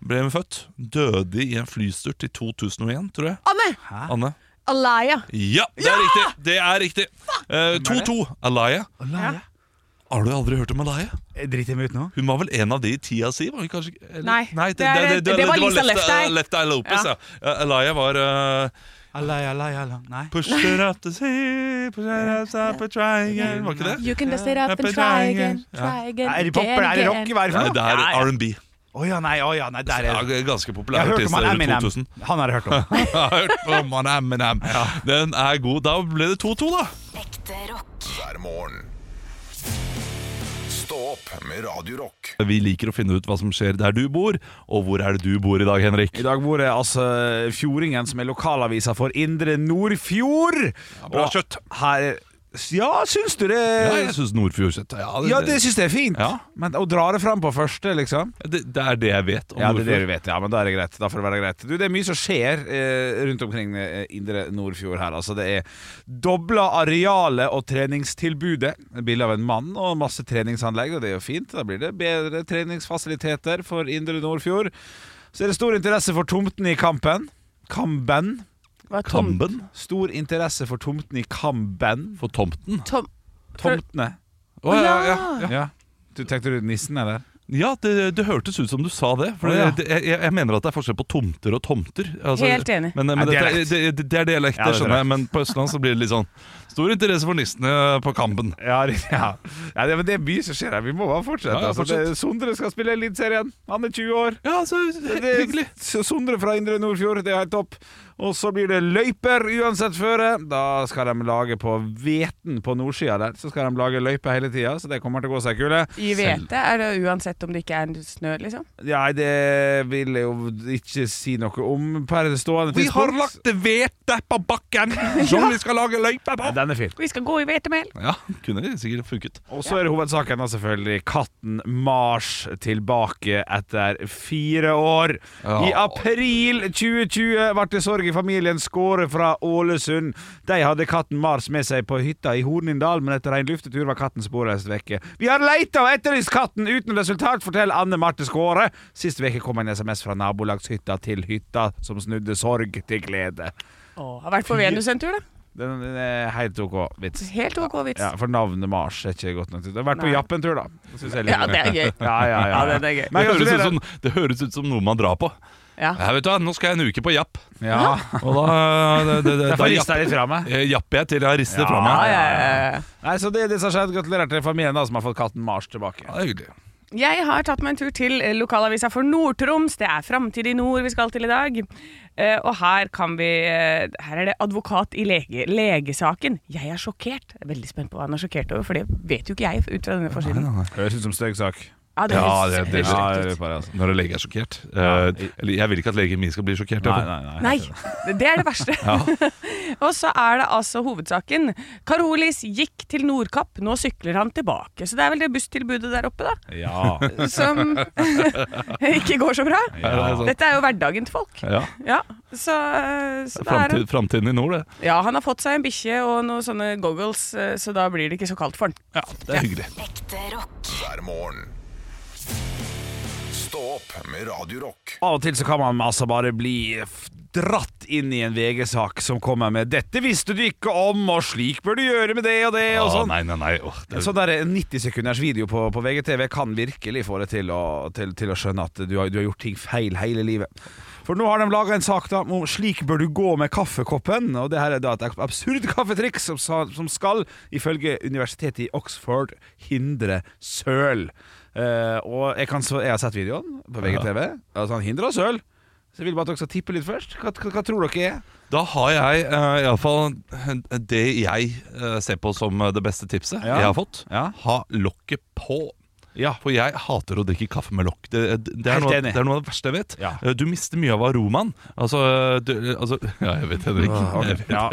ble hun født. Døde i en flystyrt i 2001, tror jeg. Anne! Anne? Ah, Alaya. Ja, det er riktig! Det er riktig Eh, 2-2. Alaya. Alaya. Har du aldri hørt om Alaya? Driter jeg Eh, meg ut nå? Hun var vel en av de i tida si? Var hun kanskje, ikke- eller- Nei, Nei det, det er- det, det, det, det var Lisa Left Eye. Left Eye Lopez, ja. Ja. Eh, Alaya var eh, Alaya, alaya, alaya. Nei. Push it up to sea, push it up, up and try again. Var ikke det? You can dust it up and try again. Try again. Er det pop, eller er det rock? Hva er det for Nei, det noe? er Ja, ja. R&B. Å ja, nei, å ja, nei, der Ja, er det. ganske Jeg populær har hørt artist eh, om han rundt Eminem. (laughs) 2000. Han har jeg hørt om. Jeg har hørt om han Eminem. Den er god. Da ble det 2-2, da. Ekte rock. hver morgen. Stå opp med Radio Rock. Vi liker å finne ut hva som skjer der du bor, og hvor er det du bor i dag, Henrik? I dag bor jeg altså Fjordingen, som er lokalavisa for Indre Nordfjord. bra Og kjøtt. Her, ja, syns du det? Ja, jeg syns Nordfjordkjøtt ja, det, Ja, det syns jeg er fint. Ja. Men å dra det fram på første, liksom det, det er det jeg vet om Ja, det er det du Nordfjord. vet. Ja, men da er det greit. Da får det være greit. Du, det er mye som skjer eh, rundt omkring eh, Indre Nordfjord her. Altså, det er dobla arealet og treningstilbudet. Et Bilde av en mann og masse treningsanlegg, og det er jo fint. Da blir det bedre treningsfasiliteter for Indre Nordfjord. Så er det stor interesse for tomtene i Kampen. Kamben. Hva er tom- Kamben Stor interesse for tomtene i Kamben. for tomten. tom- Tomtene. Å, ja, ja, ja. Ja. Du tenkte du nissen, eller? ja det, det hørtes ut som du sa det. For Å, ja. det, jeg, jeg mener at det er forskjell på tomter og tomter. Altså, Helt enig. Men, men Nei, dette, dialekt. det, det, det er Ja, dialekt, det det er skjønner jeg. Men på Østland så blir det litt sånn stor interesse for nissene på Kamben. Ja, (laughs) det- ja. ja det, men det er mye som skjer her. Vi må bare fortsette. Ja, ja, altså, fortsett. det, Sondre skal spille Eliteserien. Han er 20 år. Ja, så (laughs) hyggelig. S- Sondre fra Indre Nordfjord, det er helt topp. Og så blir det løyper uansett føre. Da skal de lage på Veten på nordsida der. Så skal de lage løyper hele tida, så det kommer til å gå seg kule. I hvete er det uansett om det ikke er snø, liksom. Ja, det vil jeg jo ikke si noe om per stående Vi har tidspunkt. lagt hvete på (laughs) bakken som vi skal lage løype ja, på! Den er fin. Vi skal gå i hvetemel. Ja, kunne sikkert funket. Og så er det hovedsaken da selvfølgelig katten Mars tilbake etter fire år. Ja. I april 2020 ble det sorg i familien Skåre fra Ålesund. De hadde katten Mars med seg på hytta i Hornindal, men etter en luftetur var katten sporløst vekke. Vi har leita og etterlyst katten uten resultat, forteller Anne Marte Skåre. Sist uke kom en SMS fra nabolagshytta til hytta, som snudde sorg til glede. Åh, har vært på Venus en tur, da. Den den er helt OK vits. Helt ok vits. Ja, For navnet Mars er ikke godt nok. Det har vært på Nei. Japp-en-tur, da. Det synes jeg er litt Ja, det er gøy. (laughs) Ja, ja, ja. Ja, det er gøy. Men Det høres, ut gratulerer. som, det høres ut som noe man drar på. Ja. Ja, vet du hva, Nå skal jeg en uke på Japp. (laughs) Ja. Og da, det, det, (laughs) det, Derfor da rister japp, jeg litt fra meg. eh, japper jeg til jeg rister fra Ja, meg. ja, ja, ja. Nei, så det er det som har skjedd. Gratulerer til familien da, som har fått katten Mars tilbake. Ja, det er hyggelig. Jeg har tatt meg en tur til eh, lokalavisa for Nord-Troms. Det er Framtid i nord vi skal til i dag. Eh, og her kan vi eh, Her er det advokat i lege, legesaken. Jeg er sjokkert. Jeg er veldig spent på hva han er sjokkert over, for det vet jo ikke jeg ut fra denne forsiden. Høres ut som stygg sak. Ja, det høres Ja, det- høres ja, rett ut. altså, Når en lege er sjokkert. Eh, Eller jeg vil ikke at legen min skal bli sjokkert. Nei, derfor. nei, nei. Nei, det er det verste. (laughs) og så er det altså hovedsaken. Karolis gikk til Nordkapp, nå sykler han tilbake. Så det er vel det busstilbudet der oppe, da, Ja. (laughs) som (laughs) ikke går så bra. Ja, det er sant. Dette er jo hverdagen til folk. Ja, Ja, så, eh, så da er han, Framtid, Framtiden i nord, det. ja, han har fått seg en bikkje og noen sånne goggles, eh, så da blir det ikke så kaldt for han. Ja, det er hyggelig. Ekte rock. hver morgen. Stå opp opp med Radio Rock. Av og til så kan man altså bare bli f- dratt inn i en VG-sak som kommer med 'Dette visste du ikke om, og slik bør du gjøre med det og det', og Å, sånn. nei, nei, nei. Åh, En det, sånn der 90 sekunders video på, på VGTV kan virkelig få deg til å, til, til å skjønne at du har, du har gjort ting feil hele livet. For nå har de laga en sak da om 'Slik bør du gå med kaffekoppen'. Og det her er da et absurd (laughs) kaffetriks som, sa- som skal, ifølge universitetet i Oxford, hindre søl. Eh, og jeg, kan, så, jeg har sett videoen på VGTV. Altså, han hindrer søl. Så jeg vil bare at dere skal tippe litt først. Hva, hva, hva tror dere er? da har jeg uh, iallfall det jeg eh, ser på som det beste tipset Ja. jeg har fått. Ja. Ha lokket på. Ja. For jeg hater å drikke kaffe med lokk. Det, det, det, Helt er noe, enig. det er noe av det verste jeg vet. Ja. Eh, Du mister mye av aromaen. Altså, eh, du, altså (laughs) Ja, jeg vet, Henrik. (laughs) Ja.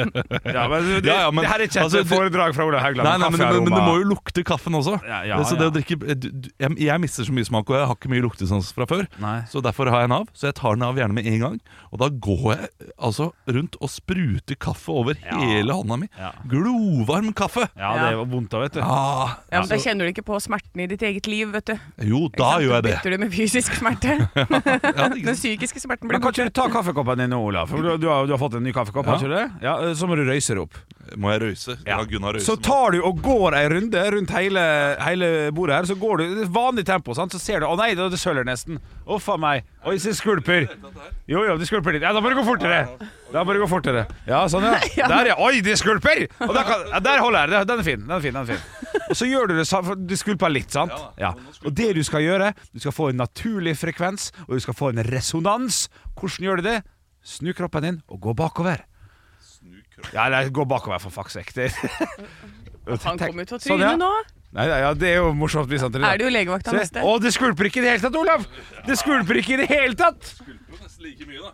Ja, men, det, Ja, ja, men- det her er ikke et altså, det- foredrag fra Ola Haugland. Nei, nei, men, men, men det kaffearoma. må jo lukte kaffen også. Ja, ja, så det ja. å drikke eh, du, du- jeg, jeg mister så mye smak, og jeg har ikke mye luktesans fra før. Nei. Så derfor har jeg en av. Så jeg tar den av gjerne med en gang. Og da går jeg eh, altså rundt og spruter kaffe over hele hånda mi. Ja. Glovarm kaffe! Ja, det er vondt da, vet du. Ah, Ja, men Da kjenner du ikke på smerten i ditt eget liv, vet du. jo, da Sant? gjør jeg det. Bytter du med fysisk smerte. (laughs) Ja, ikke Den sant? psykiske smerten blir Men kan borte. ikke du ta kaffekoppen din nå, Ola? For du, du, har, du har fått en ny kaffekopp, har ikke du det? Ja, eh, Så må du røyse det opp. Må jeg røyse? Ja, Gunnar røyse. Så tar du og går ei runde rundt hele, hele bordet her. Så går du i vanlig tempo, sant? så ser du Å nei, det det søler nesten. Å faen meg. Oi, se skvulper. Jo, jo, det skvulper litt. Ja, da må du gå fortere. Da må du gå fortere. Ja, sånn, ja. Der, ja. Oi, det skvulper! Og der, kan, ja, der holder jeg det. Den er fin. den er fin, den er fin. Og så gjør du det sånn, for du skvulper litt, sant? Ja. Og det du skal gjøre, du skal få en naturlig frekvens, og du skal få en resonans. Hvordan gjør du det? Snu kroppen din og gå bakover. Ja, nei, gå bakover, for fuck's sake. Det- (laughs) Han kom ut på Sånn, ja. trynet nå. Nei, nei, ja, det er jo morsomt. Hvis han til Er det jo legevakta neste? Å, det skvulper ikke i det hele tatt, Olav! Det skvulper ikke i det hele tatt!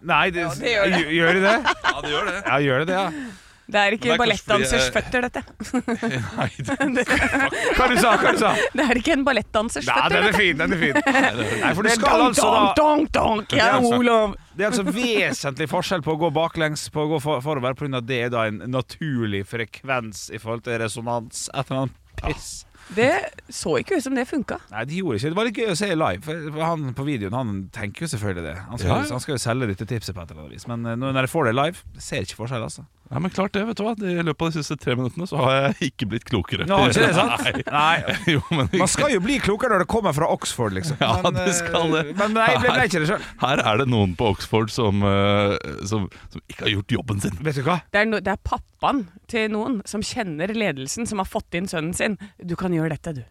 Nei, det, det gjør det. Gjør det det? Ja, det gjør det. (laughs) Ja, gjør det det, ja. Det er Men ikke det er kanskje ballettdansers eh, fordi føtter, jeg- dette. (laughs) Nei, det, Hva du sa hva du? (laughs) sa? Det er ikke en ballettdansers Nei, føtter. den er fin, den er fin. Nei, for du dette. skal Donk, altså donk, da donk, donk! Jeg er altså- Olav. Det er altså vesentlig forskjell på å gå baklengs på å gå for- forover, pga. det er da en naturlig frekvens i forhold til resonans. Et eller annet piss. Det så ikke ut som det funka. Nei, det gjorde ikke Det var litt gøy å se live. For for han på videoen Han tenker jo selvfølgelig det. Han skal, Ja, ja. han skal jo selge dette tipset på et eller annet vis. Men eh, når jeg får det live, jeg ser ikke forskjell, altså. Nei, men klart det, vet du hva. I løpet av de siste tre minuttene så har jeg ikke blitt klokere. Nå har ikke det, sant? Nei. (laughs) jo, men Man skal jo bli klokere når det kommer fra Oxford, liksom. Ja, Men, det eh, skal det. Men nei, jeg ble, ble ikke det sjøl. Her er det noen på Oxford som, eh, som, som ikke har gjort jobben sin. Vet du hva? Det er, no, det er pappaen til noen som kjenner ledelsen, som har fått inn sønnen sin. Du kan gjøre dette, du.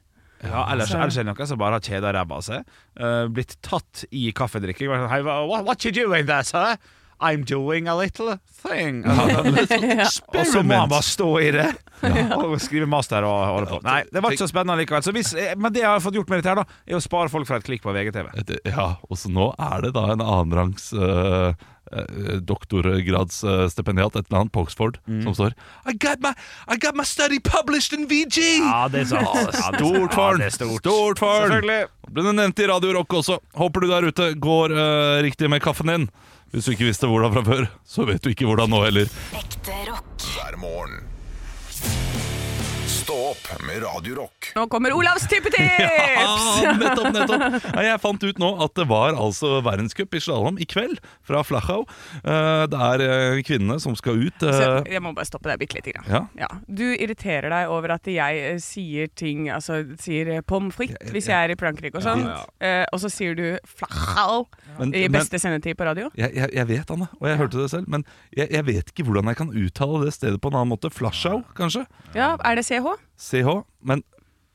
Ja, ellers, Så- ellers er det noen som bare har kjeda ræva av seg. eh, blitt tatt i kaffedrikking. Vært sånn, «Hei, hva- What, what you doing there, sir? I'm doing a little thing. sånn Og så må han bare stå i det (laughs) og skrive master og holde på. Nei, det var ikke så spennende likevel. Så hvis, eh, men det jeg har fått gjort med dette her, da, er å spare folk fra et klikk på VGTV. Et- Ja, og så nå er det da en annenrangs uh, doktorgradsstipendiat, et eller annet på Oxford, Mm. som står I got, my, I got my study published in VG! Ja, det er så, ja, det er så- Stort for ja, det den! er stort. Stort for den! Selvfølgelig. Ble det nevnt i Radio Rock også. Håper du der ute går eh, riktig med kaffen din. Hvis du ikke visste hvordan fra før, så vet du ikke hvordan nå heller. Ekte rock. hver morgen. Stå opp med Radio Rock. Nå kommer Olavs (laughs) tippetips! Ah, nettopp, nettopp. Nei, jeg fant ut nå at det var altså verdenscup i slalåm i kveld fra Flachau. Eh, det er eh, kvinnene som skal ut. Så eh, jeg må bare stoppe deg bitte lite grann. ja. Ja. Du irriterer deg over at jeg eh, sier ting Altså sier eh, pommes frites hvis jeg er i Frankrike og sånn, eh, og så sier du flachau Men- i men- beste sendetid på radio. Jeg, jeg, jeg vet, Anne, og jeg hørte det selv, men jeg, jeg vet ikke hvordan jeg kan uttale det stedet på en annen måte. Flachau, kanskje? Ja, er det CH? CH? Men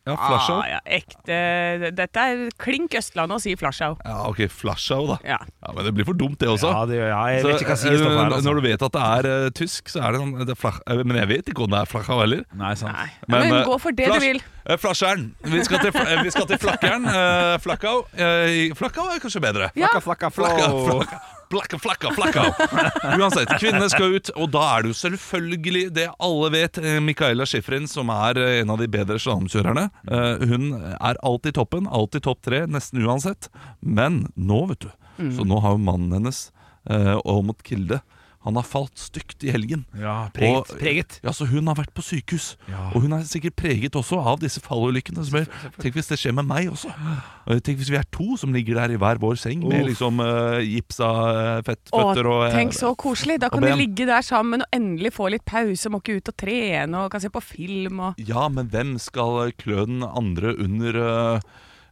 ja, Flachau. Ah, ja, ekte Dette er klink Østlandet å si flachau. Ja, ok, Flachau, da. Ja. Ja, Men det blir for dumt, det også. Ja, det gjør jeg. Jeg vet ikke hva Så, sies eh, her. Altså. Når du vet at det er eh, tysk, så er det sånn det er flach, eh, Men jeg vet ikke om det er Flachau heller. Nei, sant. Nei. Men, eh, gå for det flash- du vil. eh, Flasjeren. Vi skal til, fl- eh, vi skal til Flakkeren. eh, Flakkau. Eh, Flakkau er kanskje bedre. Ja. Flakka, flakka, Flakka, flow. flakka, flakka, flakka, flakka. Uansett, kvinnene skal ut, og da er det jo selvfølgelig det alle vet. eh, Michaela Schifrin, som er eh, en av de bedre slalåmkjørerne, eh, hun er alltid toppen. Alltid topp tre, nesten Mm. uansett. Men nå, vet du, så nå har jo mannen hennes, eh, Olmot Kilde, Han har falt stygt i helgen. Ja, preget, preget. Ja, så Hun har vært på sykehus, Ja. og hun er sikkert preget også av disse fallulykkene. som er- Tenk hvis det skjer med meg også. Eh, Tenk hvis vi er to som ligger der i hver vår seng med Uff. liksom eh, gipsa eh, Å, fett, føtter og eh, tenk så koselig. Da og kan de ben. ligge der sammen og endelig få litt pause. Må ikke ut og trene og kan se på film og Ja, men hvem skal klø den andre under eh,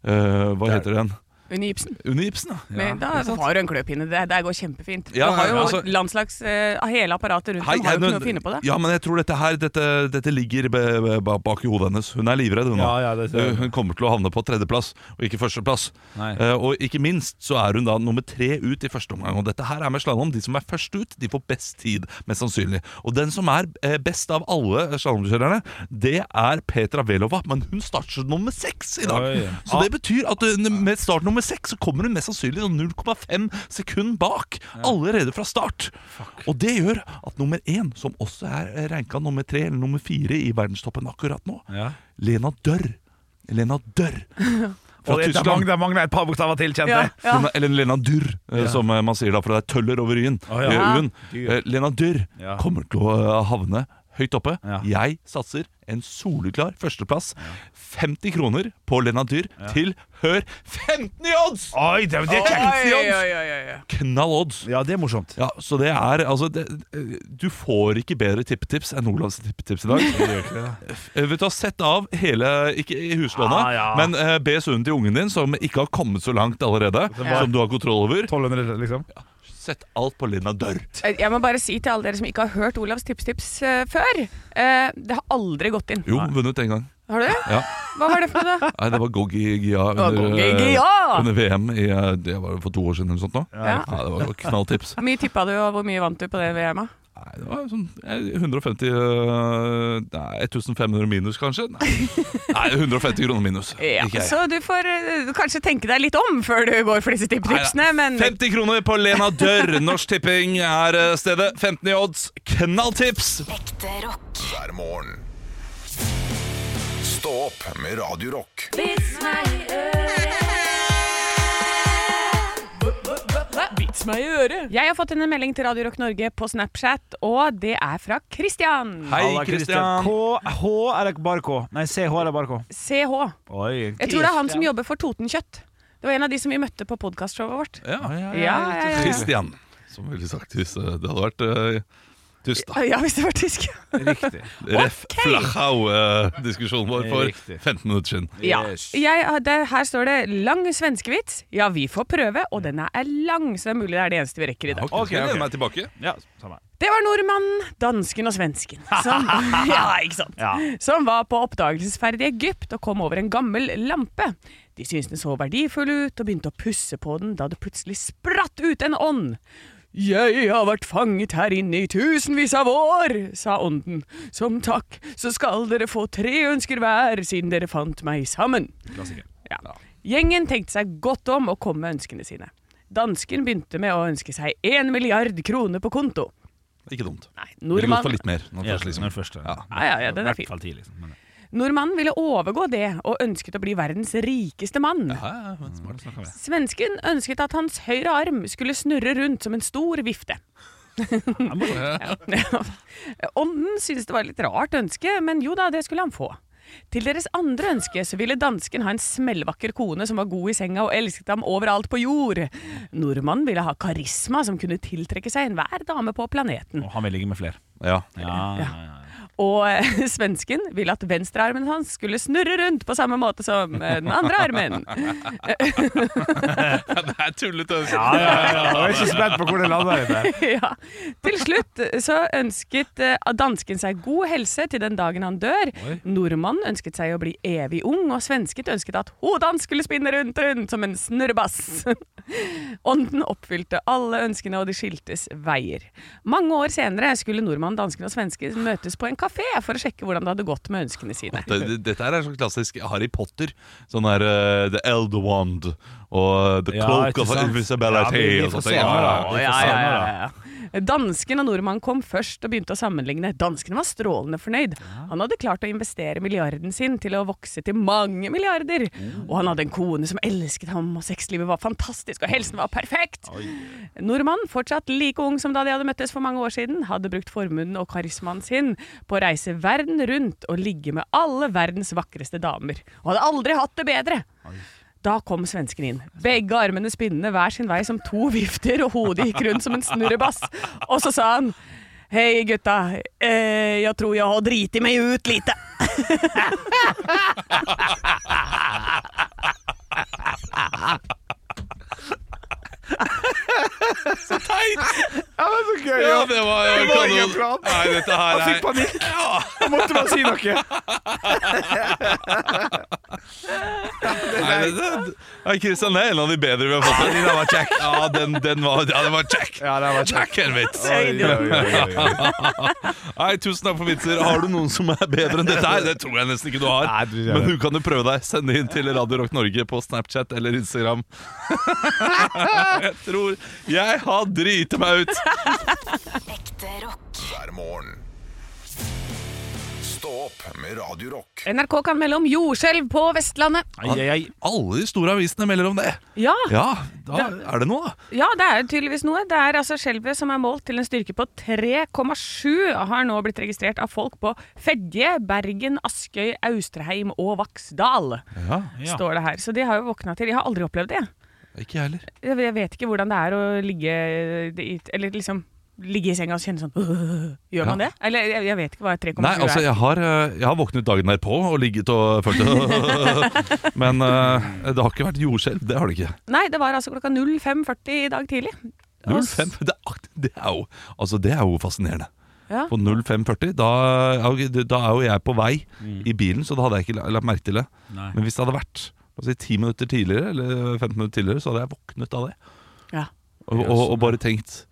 eh, Hva Der. heter den? under gipsen. Under gipsen, ja. Men da har du en kløpinne. Det der går kjempefint. Ja, du har jo ja, altså- landslags eh, Hele apparatet rundt Hei, dem har jo hei, ikke nå- noe å finne på det. Ja, men jeg tror dette her Dette, dette ligger be- be- ba- bak i hodet hennes. Hun er livredd, hun nå. Ja, ja, det ser jeg. hun kommer til å havne på tredjeplass, og ikke førsteplass. Nei. Eh, og ikke minst så er hun da nummer tre ut i første omgang. Og dette her er med slalåm. De som er først ut, de får best tid, mest sannsynlig. Og den som er eh, best av alle slalåmkjørerne, det er Petra Velova. Men hun starter som nummer seks i dag! Oi. Så det betyr at eh, med start nummer seks så kommer hun mest sannsynlig sånn 0,5 sekund bak. Allerede fra start. Og det gjør at nummer én, som også er eh, ranka nummer tre eller nummer fire i verdenstoppen akkurat nå, Ja. Lena Dørr. Lena (laughs) Dørr fra Og det, det, Tyskland. mangler, det mangler et par bokstaver til, kjente Ja, jeg. ja. Lena, eller Lena Dürr, eh, som eh, man sier da, for det er tøller over y-en. Å, ja. Eh, Ja. u-en. Eh, Lena Dürr Ja. kommer til å eh, havne høyt oppe. Ja. Jeg satser en soleklar førsteplass. 50 kroner på Lena Dürr til hør 15 i odds! Oi, det, det er Oi, kjekt. oi, oi, oi, oi. Knall odds. Ja, det er morsomt. Ja, så det er altså det, eh, Du får ikke bedre tippetips enn Olavs tippetips i dag. (laughs) Eh, Vet du, Sett av hele, ikke i huslånet, Ah, ja. men eh, BSU-en til ungen din, som ikke har kommet så langt allerede, var- som du har kontroll over. 1200, liksom. Sett alt på Lena Dørr. Eh, Jeg jeg må bare si til alle dere som ikke har hørt Olavs tipstips eh, før eh, Det har aldri gått inn. Jo, vunnet en gang. Har du det? Ja. Hva var det for (laughs) noe, da? Nei, det var Gogi Gia var under, Gogi eh, Gia! under VM i, eh, det var for to år siden eller noe sånt. nå. Ja. Ja, det var knalltips. Hvor mye tippa du, og hvor mye vant du på det VM-et? Nei, det var sånn eh, 150 eh, Nei, 1500 minus, kanskje? Nei, nei 150 kroner minus. (laughs) Ja, Ikke jeg. så du får eh, kanskje tenke deg litt om før du går for disse tipptipsene, men 50 kroner på Lena Dørr. Norsk Tipping er eh, stedet. 15 i odds. Knalltips! Ekte rock. hver morgen. Stå opp med Radio Rock. jeg har fått en melding til Radio Rock Norge på Snapchat, og det er fra Christian. Hei, Halla, Kristian. KH er det bare K. Nei, CH er det bare K. CH. Oi, Jeg tror det er han som jobber for Totenkjøtt. Det var en av de som vi møtte på podkastshowet vårt. Ja, ja, Ja, ja, ja. Kristian. Som ville sagt hvis eh, det hadde vært eh, tyst, da. Ah, Ja, hvis det var tysk. Riktig. Ref Flachau-diskusjonen vår for Riktig. 15 minutter siden. Ja. Yes. Jeg, ah, det, her står det 'lang svenskevits'. Ja, vi får prøve, og denne er lang, så det er mulig det er det eneste vi rekker i dag. Ok, okay, ok. okay. meg tilbake. (laughs) Ja, samme. Det var nordmannen, dansken og svensken som, ja, ikke sant? Ja. som var på oppdagelsesferd i Egypt og kom over en gammel lampe. De syntes den så verdifull ut og begynte å pusse på den da det plutselig spratt ut en ånd. Jeg har vært fanget her inne i tusenvis av år, sa ånden. Som takk så skal dere få tre ønsker hver siden dere fant meg sammen. Ja. Gjengen tenkte seg godt om og kom med ønskene sine. Dansken begynte med å ønske seg én milliard kroner på konto. Ikke dumt. Nei, Dere lot nordmann, for litt mer. Når Ja, først, liksom. den første. Ja. Ja, ja, ja, den er I hvert fall ti, liksom. Men- nordmannen ville overgå det og ønsket å bli verdens rikeste mann. Ja, ja, men smart. Svensken ønsket at hans høyre arm skulle snurre rundt som en stor vifte. (laughs) Ja. Ånden syntes det var et litt rart ønske, men jo da, det skulle han få. Til deres andre ønske så ville dansken ha en smellvakker kone som var god i senga og elsket ham overalt på jord. Nordmannen ville ha karisma som kunne tiltrekke seg enhver dame på planeten. Og han vil ligge med flere. Ja. Ja, ja, ja. Og eh, (laughs) svensken ville at venstrearmen hans skulle snurre rundt på samme måte som eh, den andre armen. (laughs) Det er tullete. Ja, ja, ja. (laughs) Jeg er ikke spent på hvor det lander. i det. ja. Til slutt eh, så ønsket eh, dansken seg god helse til den dagen han dør. Nordmannen ønsket seg å bli evig ung, og svensket ønsket at hodet hans skulle spinne rundt rundt som en snurrebass. (laughs) Ånden oppfylte alle ønskene, og de skiltes veier. Mange år senere skulle nordmannen, dansken og svensken møtes på en kafé for å sjekke hvordan det hadde gått med ønskene sine. Det, det, dette her er sånn klassisk Harry Potter. Sånn her eh, The Elder Wand og eh, The Ja, Cloak ikke of sant? Ja, Invisibility. vi- vi og får sånt. se Ja, nå, ja, da. ja. Å, ja, ja, ja, ja. Dansken og nordmannen kom først og begynte å sammenligne. Dansken var strålende fornøyd. Han hadde klart å investere milliarden sin til å vokse til mange milliarder. Og han hadde en kone som elsket ham, og sexlivet var fantastisk, og helsen var perfekt. Nordmannen, fortsatt like ung som da de hadde møttes for mange år siden, hadde brukt formuen og karismaen sin på å reise verden rundt og ligge med alle verdens vakreste damer. Og hadde aldri hatt det bedre. Da kom svensken inn. Begge armene spinnende hver sin vei som to vifter, og hodet gikk rundt som en snurrebass. Og så sa han Hei, gutta. Eh, jeg tror jeg har driti meg ut lite. Ja, men så gøy! Ja, Ja. det var, Det var ingen plan. Nei, dette her Jeg fikk er panikk! Jeg måtte bare si noe. Ja, det Nei, er- det, det, nei, Christian, det er en av de bedre vi har fått. Ja, den var kjekk. Ja, den, var, ja, den var kjekk. Ja, det var Kjekk en vits. Oi, oi, oi, oi. Nei, tusen takk for vitser. Har du noen som er bedre enn dette her? Det tror jeg nesten ikke du har. Nei, du gjør Men det. du kan jo prøve deg. Send det inn til Radio Rock Norge på Snapchat eller Instagram. (laughs) Jeg tror jeg har driti meg ut. Ekte rock. hver morgen. Stå opp med Radio Rock. NRK kan melde om jordskjelv på Vestlandet. Ai, ai, ai. Alle de store avisene melder om det. Ja, ja. Ja, da er det noe, da. det er jo tydeligvis noe. Det er altså skjelvet som er målt til en styrke på 3,7, har nå blitt registrert av folk på Fedje, Bergen, Askøy, Austrheim og Vaksdal, Ja, Ja. står det her. Så de har jo våkna til. Jeg har aldri opplevd det. jeg. Ikke jeg heller. Jeg jeg vet ikke hvordan det er å ligge i- Eller liksom ligge i senga og kjenne sånn (laughs) «Åh». Gjør man Ja. det? Eller jeg, jeg vet ikke hva 3,7 Nei, altså, er. jeg har, eh, jeg har våknet dagen derpå og ligget og følt det. (laughs) Men eh, det har ikke vært jordskjelv. Det har det ikke. Nei, det var altså klokka 05.40 i dag tidlig. Og s- 05, det, er, akt- det, er jo, altså det er jo fascinerende. Ja. På 05.40, da, er jo- da er jo jeg på vei i bilen, så da hadde jeg ikke la- lagt merke til det. Nei. Men hvis det hadde vært altså, 10 minutter tidligere, eller 15 minutter tidligere, så hadde jeg våknet av det. Ja. Og, og, og bare tenkt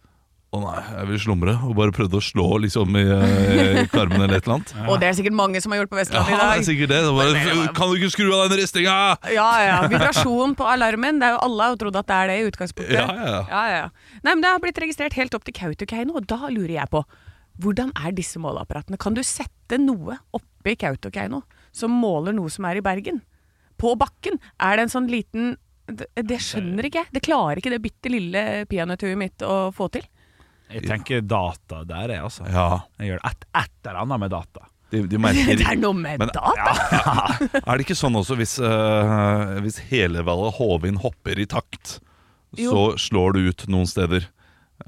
å nei, jeg vil slumre. Og bare prøvde å slå liksom i eh, karmen eller et eller annet. Og det er sikkert mange som har gjort på Ja, Vestlandet det i er dag. sikkert det. Så bare, kan du ikke skru av den ristinga?! Ja, ja. Vibrasjon på alarmen. Det er jo alle har jo trodd at det er det i utgangspunktet. Ja, ja, ja. ja, ja. Nei, men Det har blitt registrert helt opp til Kautokeino, og da lurer jeg på hvordan er disse måleapparatene? Kan du sette noe oppe i Kautokeino som måler noe som er i Bergen? På bakken? Er det en sånn liten Det, det skjønner ikke jeg. Det klarer ikke det bitte lille peanøtthuet mitt å få til. Jeg tenker data der, jeg, altså. Ja, Jeg gjør et, et eller annet med data. de, de (laughs) merker Det er noe med Men- data! Er det ikke sånn også hvis, uh, hvis hele Valle Hovin hopper i takt, Jo. så slår du ut noen steder?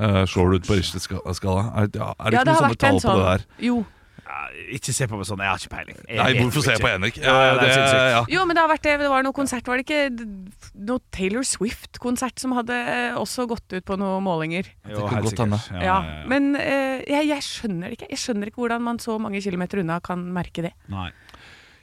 Eh, slår du ut på Richter-skala? Er, ja, er det ikke noe sånne tall på det sånn. der? sånn- Jo. Ja, ikke se på meg sånn, jeg har ikke peiling. Jeg Nei, vet hvorfor jo ser jeg på ikke. Henrik? Ja, ja, det er Eh, sinnssykt. ja. Jo, men det har vært det. Det var noe konsert, var det ikke? d- Noe Taylor Swift-konsert som hadde eh, også gått ut på noen målinger. Jo, kan helt godt hende. sikkert. Ja, Ja, ja, ja. men eh, jeg, jeg skjønner det ikke. Jeg skjønner ikke hvordan man så mange kilometer unna kan merke det. Nei.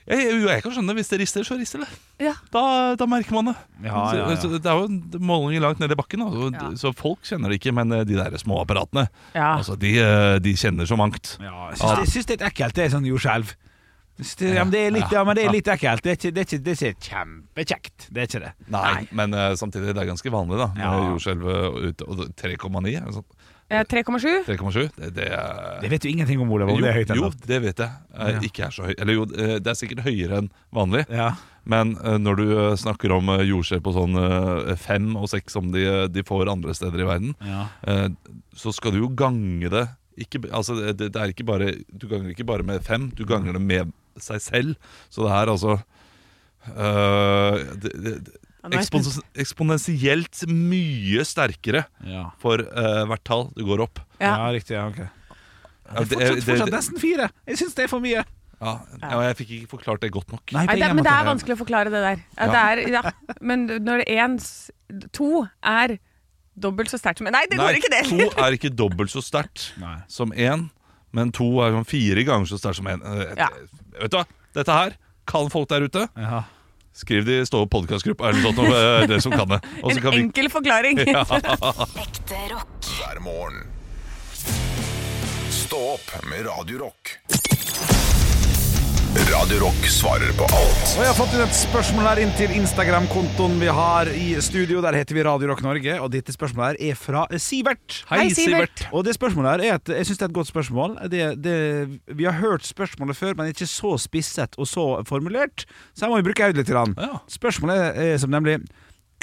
Jeg, jo, jeg kan skjønne det. Hvis det rister, så rister det. Ja, Da, da merker man det. Ja, ja, ja. Så, så det er jo en måling langt nede i bakken, da, og, Ja. så folk kjenner det ikke. Men eh, de der små apparatene, ja. altså, de, eh, de kjenner så mangt. Ja, jeg syns, jeg syns det er litt ekkelt, det er sånn jordskjelv. Jeg syns det- Ja, men det er litt, ja, men det er litt ekkelt. Det er ikke, det er ikke, det er ikke kjempekjekt. Det er ikke det. Nei, men eh, samtidig, det er ganske vanlig, da. Ja. med Jordskjelvet ute, og 3,9. er det sånn? Eh, 3,7. 3,7? Det, det er Det vet du ingenting om, Olav. om jo, det er høyt eller jo, lavt. det vet jeg. Eh, Ja. Ikke er så høy. Eller jo, eh, det er sikkert høyere enn vanlig. Ja. Men eh, når du eh, snakker om eh, jordskjelv på sånn eh, fem og seks som de, eh, de får andre steder i verden, Ja. eh, så skal du jo gange det. Ikke, b- altså, det, det er ikke bare, du ganger ikke bare med fem, du ganger det med seg selv. Så det er altså eh, det, det, Ja, nå er jeg spent. ekspons- eksponentielt mye sterkere Ja. for eh, hvert tall du går opp. Ja. riktig. Ja, ok. Ja, Det er fortsatt, fortsatt nesten fire. Jeg syns det er for mye. Ja, ja, jeg fikk ikke forklart det godt nok. Nei, det, men det er vanskelig å forklare det der. Ja, det Ja. er, ja. Men når det en, s- to er dobbelt så sterkt som Nei, det går ikke, det! To er ikke dobbelt så sterkt (laughs) Nei. som én, men to er sånn fire ganger så sterkt som én. Eh, Ja. Vet du hva, dette her kan folk der ute. Ja. Skriv det i stå podkastgruppa eller noe sånt, eh, dere som kan (laughs) det. Og så En kan vi enkel forklaring. Ekte rock. hver morgen. Stå opp med Radio Rock. Radio Rock svarer på alt. Og jeg har fått inn et spørsmål her inn til Instagram-kontoen vi har i studio. Der heter vi Radio Rock Norge, og dette spørsmålet her er fra Sivert. Hei, Sivert. Og det spørsmålet her er et, jeg synes det er et godt spørsmål. Det, det, vi har hørt spørsmålet før, men ikke så spisset og så formulert, så her må vi bruke øyet litt. Grann. Ja. Spørsmålet er som nemlig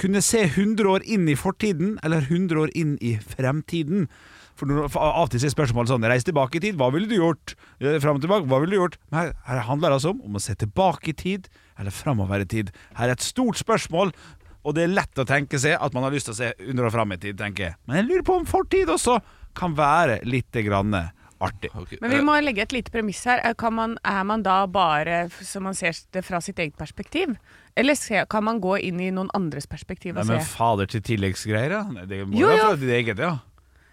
kunne se 100 år inn i fortiden eller 100 år inn i fremtiden. For, når, for Av og til er spørsmålet sånn Reis tilbake i tid, hva ville du gjort? Eh, Fram og tilbake, hva ville du gjort? Men her, her handler det altså om, om å se tilbake i tid eller framover i tid. Her er et stort spørsmål, og det er lett å tenke seg at man har lyst til å se 100 år fram i tid, tenker jeg. Men jeg lurer på om fortid også kan være litt grann artig. Ok, Men vi må legge et lite premiss her. Er- Kan man, er man da bare f- så man ser det fra sitt eget perspektiv? Eller se, kan man gå inn i noen andres perspektiv Nei, og men se? fader til tilleggsgreier, ja. Nei, Det må jo Jo, være jo. fra ditt eget, ja.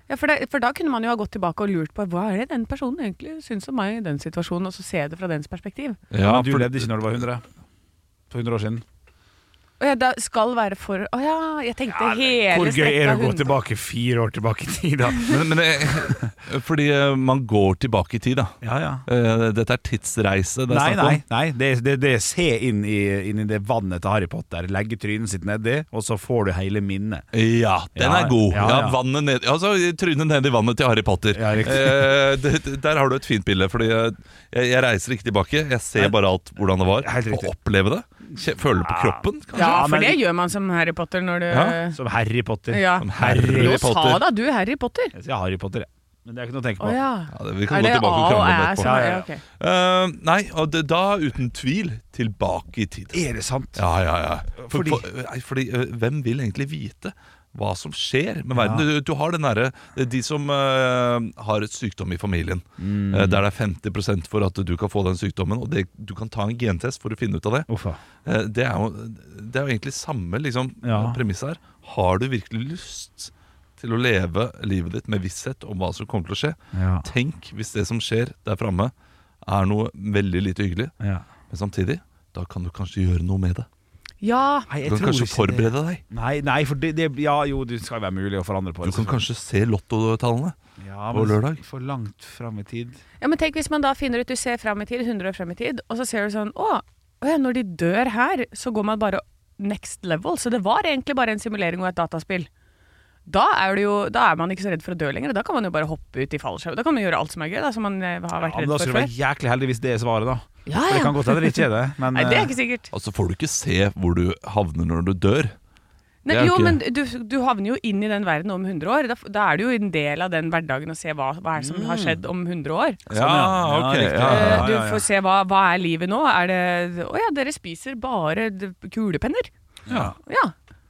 Ja, for, det, for da kunne man jo ha gått tilbake og lurt på hva er det den personen egentlig syns om meg i den situasjonen, og så se det fra dens perspektiv. eh, ja ja, men du for- levde ikke når du var 100. For 100 år siden. Og jeg da skal være for Å ja, jeg tenkte hele Hvor gøy er det strekka å gå 100. tilbake fire år tilbake i tid, da? Men, men jeg- fordi eh, (laughs) man går tilbake i tid, da. Ja, ja. Eh, Dette er tidsreise det er Nei, snakk om. nei, nei. Det, det, det er se inn i, inn i det vannet til Harry Potter. Legge trynet sitt nedi, og så får du hele minnet. Ja, den Ja, er god. ja, Ja, ja. vannet ned, altså, Trynet ned i vannet til Harry Potter. Ja, riktig. Eh, det, det- der har du et fint bilde. Fordi jeg, jeg reiser ikke tilbake. Jeg ser bare alt hvordan det var. Helt riktig. Og oppleve det. Kje- Føle det på kroppen. kanskje. Ja, for men- det gjør man som Harry Potter når du Ja, Som Harry Potter. Ja. Som Harry Jo, sa Potter. da du Harry Potter? Jeg sier Harry Potter, jeg. Men det er ikke noe å tenke på. Å ja. Ja, det, vi kan Er gå det A tilbake og og krangle Æ litt på som det. er ja, ok. Eh, Nei, og det, da uten tvil tilbake i tid. Er det sant? Ja, ja, ja. For, Fordi- for, nei, fordi eh, hvem vil egentlig vite hva som skjer med verden? Du, du har den derre De som eh, har et sykdom i familien, Mm. eh, der det er 50 for at du kan få den sykdommen, og det, du kan ta en gentest for å finne ut av det. Uffa. Eh, det, er jo, det er jo egentlig samme liksom, Ja. premiss her. Har du virkelig lyst til å leve livet ditt med visshet om hva som kommer til å skje? Ja. Tenk hvis det som skjer der framme, er noe veldig lite hyggelig, Ja. men samtidig, da kan du kanskje gjøre noe med det. ja. Nei, Du kan kanskje forberede deg. Nei, nei, for det, det Ja jo, det skal være mulig å forandre på Du det. kan kanskje se lottotallene. ja, på men lørdag. For langt fram i tid. ja, men tenk hvis man da finner ut du ser fram i tid, 100 år fram i tid, og så ser du sånn Å, å ja, når de dør her, så går man bare next level. Så det var egentlig bare en simulering og et dataspill. Da er, du jo, da er man ikke så redd for å dø lenger. og Da kan man jo bare hoppe ut i fallskjerm. Da kan man gjøre alt som er gøy, da, som man eh, har Ja, vært men redd da for skal du før. være jæklig heldig hvis det er svaret, da. Ja, For det ja. kan godt hende det ikke er det, men Nei, det eh, er ikke sikkert. Altså får du ikke se hvor du havner når du dør. Nei, Det er jo jo, ikke- men du, du havner jo inn i den verden om 100 år. Da, f- da er du jo en del av den hverdagen og se hva, hva er det som Mm. har skjedd om 100 år. eh, sånn, ja. Ja, riktig. Eh, ja, du ja. får se hva, hva er livet nå. Er det Å ja, dere spiser bare d- kulepenner. Ja. Ja.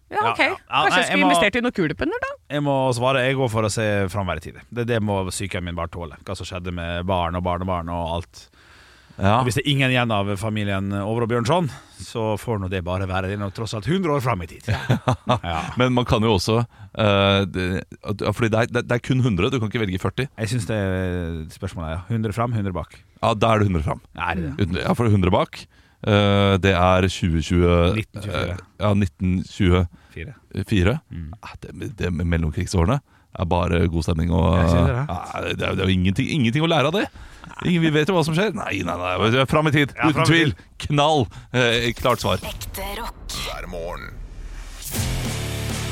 Ja, Ja, ok. ja. Ja, Kanskje nei, jeg jeg skulle må- investert i noen kulepenner, da? Jeg må svare, jeg går for å se framvær i tid. Det, det må sykehjemmet min bare tåle. Hva som skjedde med barn og barnebarn og alt. Ja. Og hvis det er ingen igjen av familien Over og Bjørnson, så får nå det bare være. Det er nå tross alt 100 år fram i tid. (laughs) Ja. Men man kan jo også eh, det, at- ja, Fordi det er, det er kun 100, du kan ikke velge 40. Jeg syns det er spørsmålet er ja. 100 fram, 100 bak. Ja, Da er det 100 fram. Nei, det er det. Uten- Ja, for 100 bak, eh, det er 2020 1924. eh, Ja, 1924. Fire. Mm. Ah, Det, det med mellomkrigsårene er bare god stemning og Jeg sier det. Ja, det, er- det er jo ingenting, ingenting å lære av det. Ingen, vi vet jo hva som skjer. Nei, nei, nei, fram i tid. Ja, Uten fram i tvil. tid. Knall. Eh, klart svar. Ekte rock. hver morgen.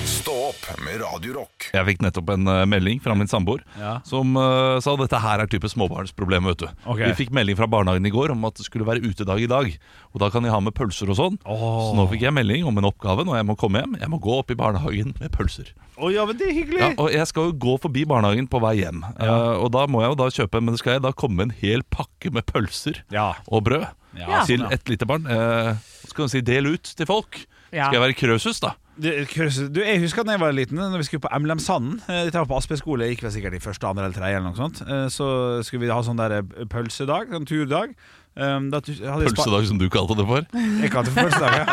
Stå opp med Radio Rock. Jeg fikk nettopp en eh, melding fra min samboer Ja. som eh, sa dette her er type småbarnsproblem. vet du. Ok. Vi fikk melding fra barnehagen i går om at det skulle være utedag i dag. Og da kan de ha med pølser og sånn. Åh. Så nå fikk jeg melding om en oppgave når jeg må komme hjem. Jeg må gå opp i barnehagen med pølser. Å ja, men det er hyggelig! Ja, og jeg skal jo gå forbi barnehagen på vei hjem. Eh, og da må jeg jo da kjøpe, men skal jeg da komme en hel pakke med pølser Ja. og brød Ja, til sånn, ja. et lite barn? Eh, så kan du si del ut til folk. Ja. Skal jeg være Krøsus, da? Du, Krøs- du, jeg husker da jeg var liten, Når vi skulle på Emlemsanden. eh, Dette var på Aspøy skole, jeg gikk vel sikkert i første, andre eller tredje. Eller noe sånt. Eh, Så skulle vi ha sånn der eh, pølsedag, sånn turdag. Um, da tu- hadde jeg spa- Pølsedag, som du kalte det for. Jeg kalte det for pølsedag, ja.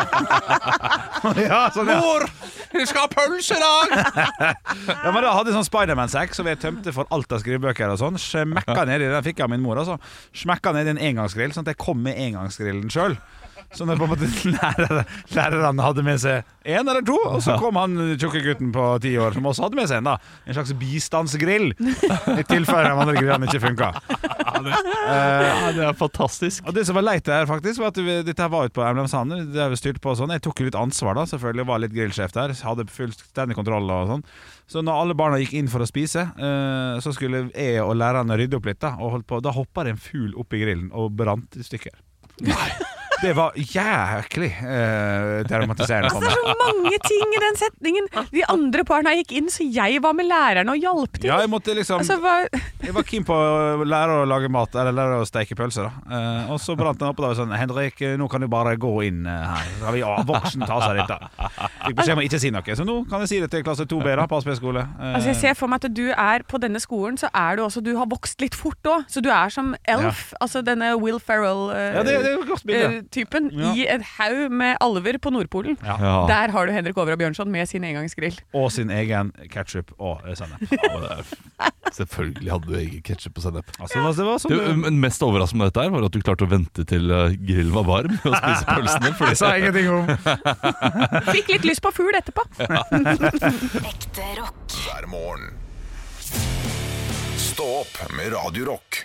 (laughs) ja, sånn, ja. Mor, vi skal ha pølsedag! ja men da hadde jeg sånn Spiderman-sekk som jeg tømte for alt av skrivebøker og sånn. Smekka ned i den fikk jeg av min mor, altså. Smekka ned i en engangsgrill, sånn at jeg kom med engangsgrillen sjøl. Sånn at på en måte (laughs) lærere, lærerne hadde med seg én eller to, og så kom han tjukke gutten på ti år som også hadde med seg en. da En slags bistandsgrill, i tilfelle de andre grillene ikke funka. Ja, det er fantastisk. Og det som var leit der, faktisk, var at vi, dette her var ute på Emlemshaner. Det har vi styrt på og sånn. Jeg tok jo litt ansvar, da, selvfølgelig. Var litt grillsjef der. Hadde fullstendig kontroll og sånn. Så når alle barna gikk inn for å spise, eh, så skulle jeg og lærerne rydde opp litt, da. Og holdt på. Da hoppa det en fugl opp i grillen og brant i stykker. Det var jæklig eh, traumatiserende for Altså, Det (laughs) meg. er så mange ting i den setningen! De andre barna gikk inn, så jeg var med lærerne og hjalp til. Ja, jeg måtte liksom Altså, hva- Jeg var keen på å lære å lage mat, eller lære å steke pølser. da eh, Og så brant den opp, og da var jeg sånn Henrik, nå kan du bare gå inn eh, her. Da har vi ja, voksen ta seg av dette. Fikk beskjed om å ikke si noe, så nå kan jeg si det til klasse 2B da, på Asp skole. Eh, altså, jeg ser for meg at du er på denne skolen, så er du også Du har vokst litt fort òg, så du er som Elf, altså denne Will ja, det, det er Ferrell-typen, et godt Eh, bilde. i en haug med alver på Nordpolen. Ja. Der har du Henrik Over og Bjørnson med sin engangsgrill. Og sin egen ketsjup og eh, sennep. Ja, men det er- Selvfølgelig hadde du egen ketsjup og sennep. Altså, det var, det var Du, um, sånn men mest overraskende med dette her var at du klarte å vente til eh, grillen var varm og spise pølsene. Fordi, (laughs) Jeg sa ingenting om Fikk litt lyst på fugl etterpå. Ekte rock. hver morgen. Stå opp med Radio Rock.